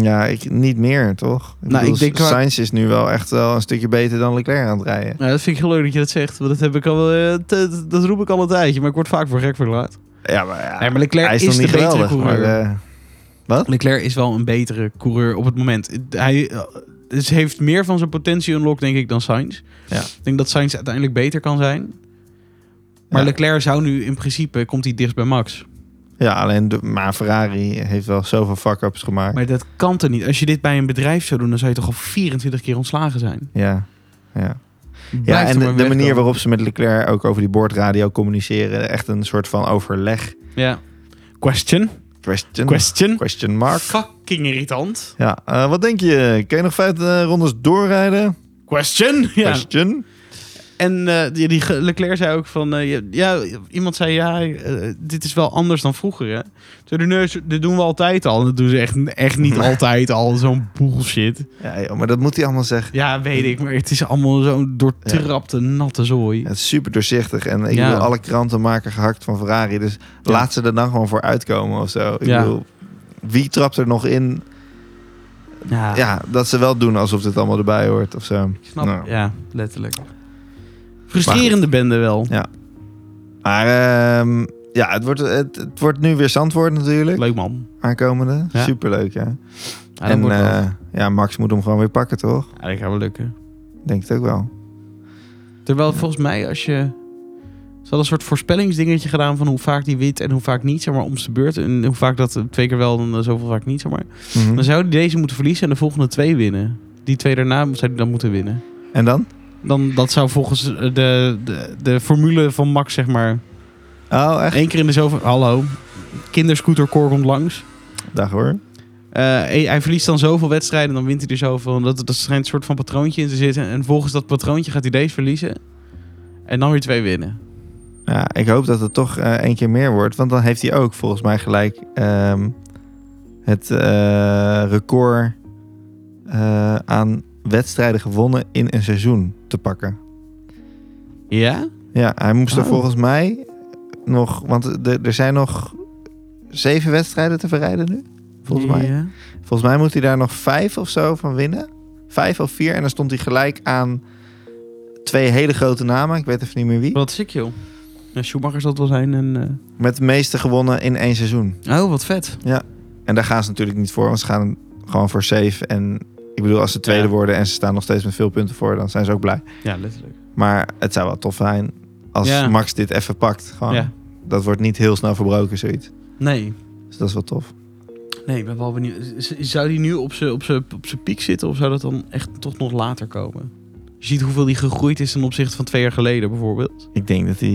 Speaker 2: Ja, ik, niet meer, toch? Ik
Speaker 1: Nou, ik denk qua-
Speaker 2: Sainz is nu wel echt wel een stukje beter dan Leclerc aan het rijden.
Speaker 1: Nou, dat vind ik heel leuk dat je dat zegt, want dat, heb ik al, eh, te- te- dat roep ik al een tijdje, maar ik word vaak voor gek verklaard.
Speaker 2: Ja, maar, ja,
Speaker 1: Nee, maar Leclerc
Speaker 2: hij is,
Speaker 1: is
Speaker 2: nog
Speaker 1: de
Speaker 2: niet
Speaker 1: betere
Speaker 2: geweldig. Maar,
Speaker 1: coureur.
Speaker 2: eh,
Speaker 1: Leclerc is wel een betere coureur op het moment. Hij eh, dus heeft meer van zijn potentie unlocked, denk ik, dan Sainz.
Speaker 2: Ja.
Speaker 1: Ik denk dat Sainz uiteindelijk beter kan zijn. Maar
Speaker 2: Ja.
Speaker 1: Leclerc zou nu in principe, komt hij dichtst bij Max.
Speaker 2: ja, alleen de, maar Ferrari heeft wel zoveel fuck-ups gemaakt.
Speaker 1: Maar dat kan toch niet? Als je dit bij een bedrijf zou doen, dan zou je toch al 24 keer ontslagen zijn.
Speaker 2: Ja, ja.
Speaker 1: Blijf
Speaker 2: Ja,
Speaker 1: er
Speaker 2: en de,
Speaker 1: maar
Speaker 2: de
Speaker 1: weg
Speaker 2: manier
Speaker 1: dan.
Speaker 2: waarop ze met Leclerc ook over die boordradio communiceren. Echt een soort van overleg.
Speaker 1: Ja. Question.
Speaker 2: Question,
Speaker 1: Question.
Speaker 2: question mark.
Speaker 1: Fucking irritant.
Speaker 2: Ja, eh, wat denk je? Kun je nog vijf eh, rondes doorrijden?
Speaker 1: Question. Ja.
Speaker 2: Question.
Speaker 1: En eh, die, die ge- Leclerc zei ook van... eh, ja, ja, iemand zei, ja, eh, dit is wel anders dan vroeger, hè? Toen de neus, dit doen we altijd al. En dat doen ze echt, echt niet altijd al. Zo'n bullshit.
Speaker 2: Ja, joh, maar dat moet hij allemaal zeggen.
Speaker 1: Ja, weet ik. Maar het is allemaal zo'n doortrapte, natte zooi.
Speaker 2: Het is super doorzichtig. En ik
Speaker 1: Ja.
Speaker 2: bedoel, alle kranten maken gehakt van Ferrari. Dus laat ze er dan gewoon voor uitkomen of zo. Ik
Speaker 1: Ja.
Speaker 2: bedoel, wie trapt er nog in?
Speaker 1: Ja,
Speaker 2: Ja, dat ze wel doen alsof dit allemaal erbij hoort of zo.
Speaker 1: ik snap.
Speaker 2: Nou.
Speaker 1: Ja, letterlijk. Frustrerende bende wel.
Speaker 2: Maar ehm, ja, het wordt, het, het wordt nu weer Zandvoort natuurlijk.
Speaker 1: Leuk man.
Speaker 2: Aankomende.
Speaker 1: Ja.
Speaker 2: Superleuk, ja.
Speaker 1: Ja, dat
Speaker 2: en
Speaker 1: wordt wel.
Speaker 2: eh, ja, Max moet hem gewoon weer pakken, toch?
Speaker 1: Ja, dat gaat wel lukken.
Speaker 2: Denk het ook wel.
Speaker 1: Terwijl
Speaker 2: Ja.
Speaker 1: volgens mij als je... Ze hadden een soort voorspellingsdingetje gedaan van hoe vaak die wint en hoe vaak niet, zeg maar, om zijn beurt. En hoe vaak dat eh, twee keer wel en eh, zoveel vaak niet, zeg maar.
Speaker 2: Mhm.
Speaker 1: Dan zou hij deze moeten verliezen en de volgende twee winnen. Die twee daarna zou hij dan moeten winnen.
Speaker 2: En dan?
Speaker 1: Dan, dat zou volgens eh, de, de, de formule van Max, zeg maar,
Speaker 2: Oh, echt?
Speaker 1: één keer in de zoveel... Hallo, kinderscooter Cor komt langs.
Speaker 2: Dag hoor.
Speaker 1: Eh, hij- hij verliest dan zoveel wedstrijden, dan wint hij er zoveel. En Dat, dat schijnt een soort van patroontje in te zitten. En volgens dat patroontje gaat hij deze verliezen. En dan weer twee winnen.
Speaker 2: Ja, ik hoop dat het toch eh één keer meer wordt. Want dan heeft hij ook volgens mij gelijk ehm, het eh, record eh, aan wedstrijden gewonnen in een seizoen te pakken.
Speaker 1: Ja?
Speaker 2: Ja, hij moest er
Speaker 1: Oh.
Speaker 2: volgens mij nog... Want de- er zijn nog zeven wedstrijden te verrijden nu, volgens mij.
Speaker 1: Ja.
Speaker 2: Volgens mij moet hij daar nog vijf of zo van winnen. Vijf of vier. En dan stond hij gelijk aan twee hele grote namen. Ik weet even niet meer wie.
Speaker 1: Wat sick, joh. Ja, Schumacher zal het wel zijn. En,
Speaker 2: Met de meeste gewonnen in één seizoen.
Speaker 1: eh, Oh, wat vet.
Speaker 2: En daar gaan ze natuurlijk niet voor. Want ze gaan gewoon voor safe. En ik bedoel, als ze tweede
Speaker 1: Ja.
Speaker 2: worden en ze staan nog steeds met veel punten voor, dan zijn ze ook blij.
Speaker 1: Ja, letterlijk.
Speaker 2: Maar het zou wel tof zijn als
Speaker 1: Ja.
Speaker 2: Max dit even pakt. Gewoon,
Speaker 1: Ja.
Speaker 2: Dat wordt niet heel snel verbroken, zoiets.
Speaker 1: Nee,
Speaker 2: Dus dat is wel tof.
Speaker 1: nee, ik ben wel benieuwd. Z- Zou die nu op zijn op z'n- op z'n piek zitten of zou dat dan echt toch nog later komen? Je ziet hoeveel die gegroeid is ten opzichte van twee jaar geleden bijvoorbeeld.
Speaker 2: Ik denk dat hij,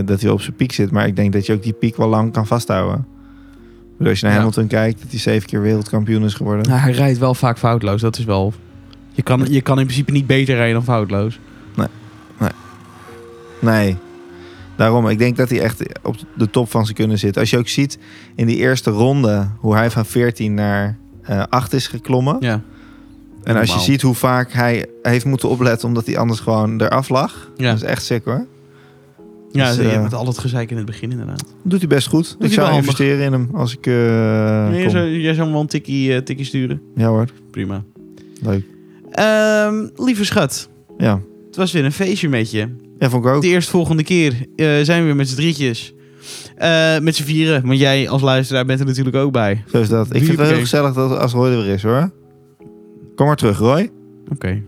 Speaker 2: eh, dat hij op zijn piek zit. Maar ik denk dat je ook die piek wel lang kan vasthouden. Ik bedoel, Als je naar
Speaker 1: Ja.
Speaker 2: Hamilton kijkt, dat hij zeven keer wereldkampioen is geworden.
Speaker 1: Nou, hij rijdt wel vaak foutloos, dat is wel... Je kan, je kan in principe niet beter rijden dan foutloos.
Speaker 2: Nee. Daarom, ik denk dat hij echt op de top van zijn kunnen zit. Als je ook ziet in die eerste ronde hoe hij van 14 naar eh 8 is geklommen.
Speaker 1: Ja.
Speaker 2: en als je
Speaker 1: normaal.
Speaker 2: ziet hoe vaak hij heeft moeten opletten omdat hij anders gewoon eraf lag.
Speaker 1: Ja,
Speaker 2: Dat is echt sick hoor.
Speaker 1: ja
Speaker 2: dus,
Speaker 1: je
Speaker 2: eh,
Speaker 1: hebt altijd gezeik in het begin inderdaad.
Speaker 2: Doet hij best goed.
Speaker 1: hij
Speaker 2: ik zou
Speaker 1: wel handig.
Speaker 2: investeren in hem als ik eh,
Speaker 1: Nee,
Speaker 2: kom.
Speaker 1: zo- jij zou hem wel een tikkie, eh, tikkie sturen.
Speaker 2: Ja hoor,
Speaker 1: Prima.
Speaker 2: leuk.
Speaker 1: Ehm, lieve schat,
Speaker 2: Ja.
Speaker 1: het was weer een feestje met je.
Speaker 2: ja, vond ik ook.
Speaker 1: De eerstvolgende keer eh, zijn we weer met z'n drietjes. Eh, met z'n vieren, want jij als luisteraar bent er natuurlijk ook bij.
Speaker 2: Zo is dat. Ik vind het wel heel
Speaker 1: Huppakee.
Speaker 2: gezellig dat als Roy er weer is hoor. Kom maar terug Roy.
Speaker 1: Oké.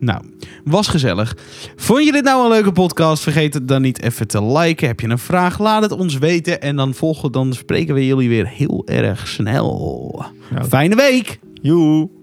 Speaker 1: Nou, was gezellig. Vond je dit nou een leuke podcast? Vergeet het dan niet even te liken. Heb je een vraag? Laat het ons weten. En dan, volgen, dan spreken we jullie weer heel erg snel.
Speaker 2: Nou.
Speaker 1: Fijne week!
Speaker 2: Joe.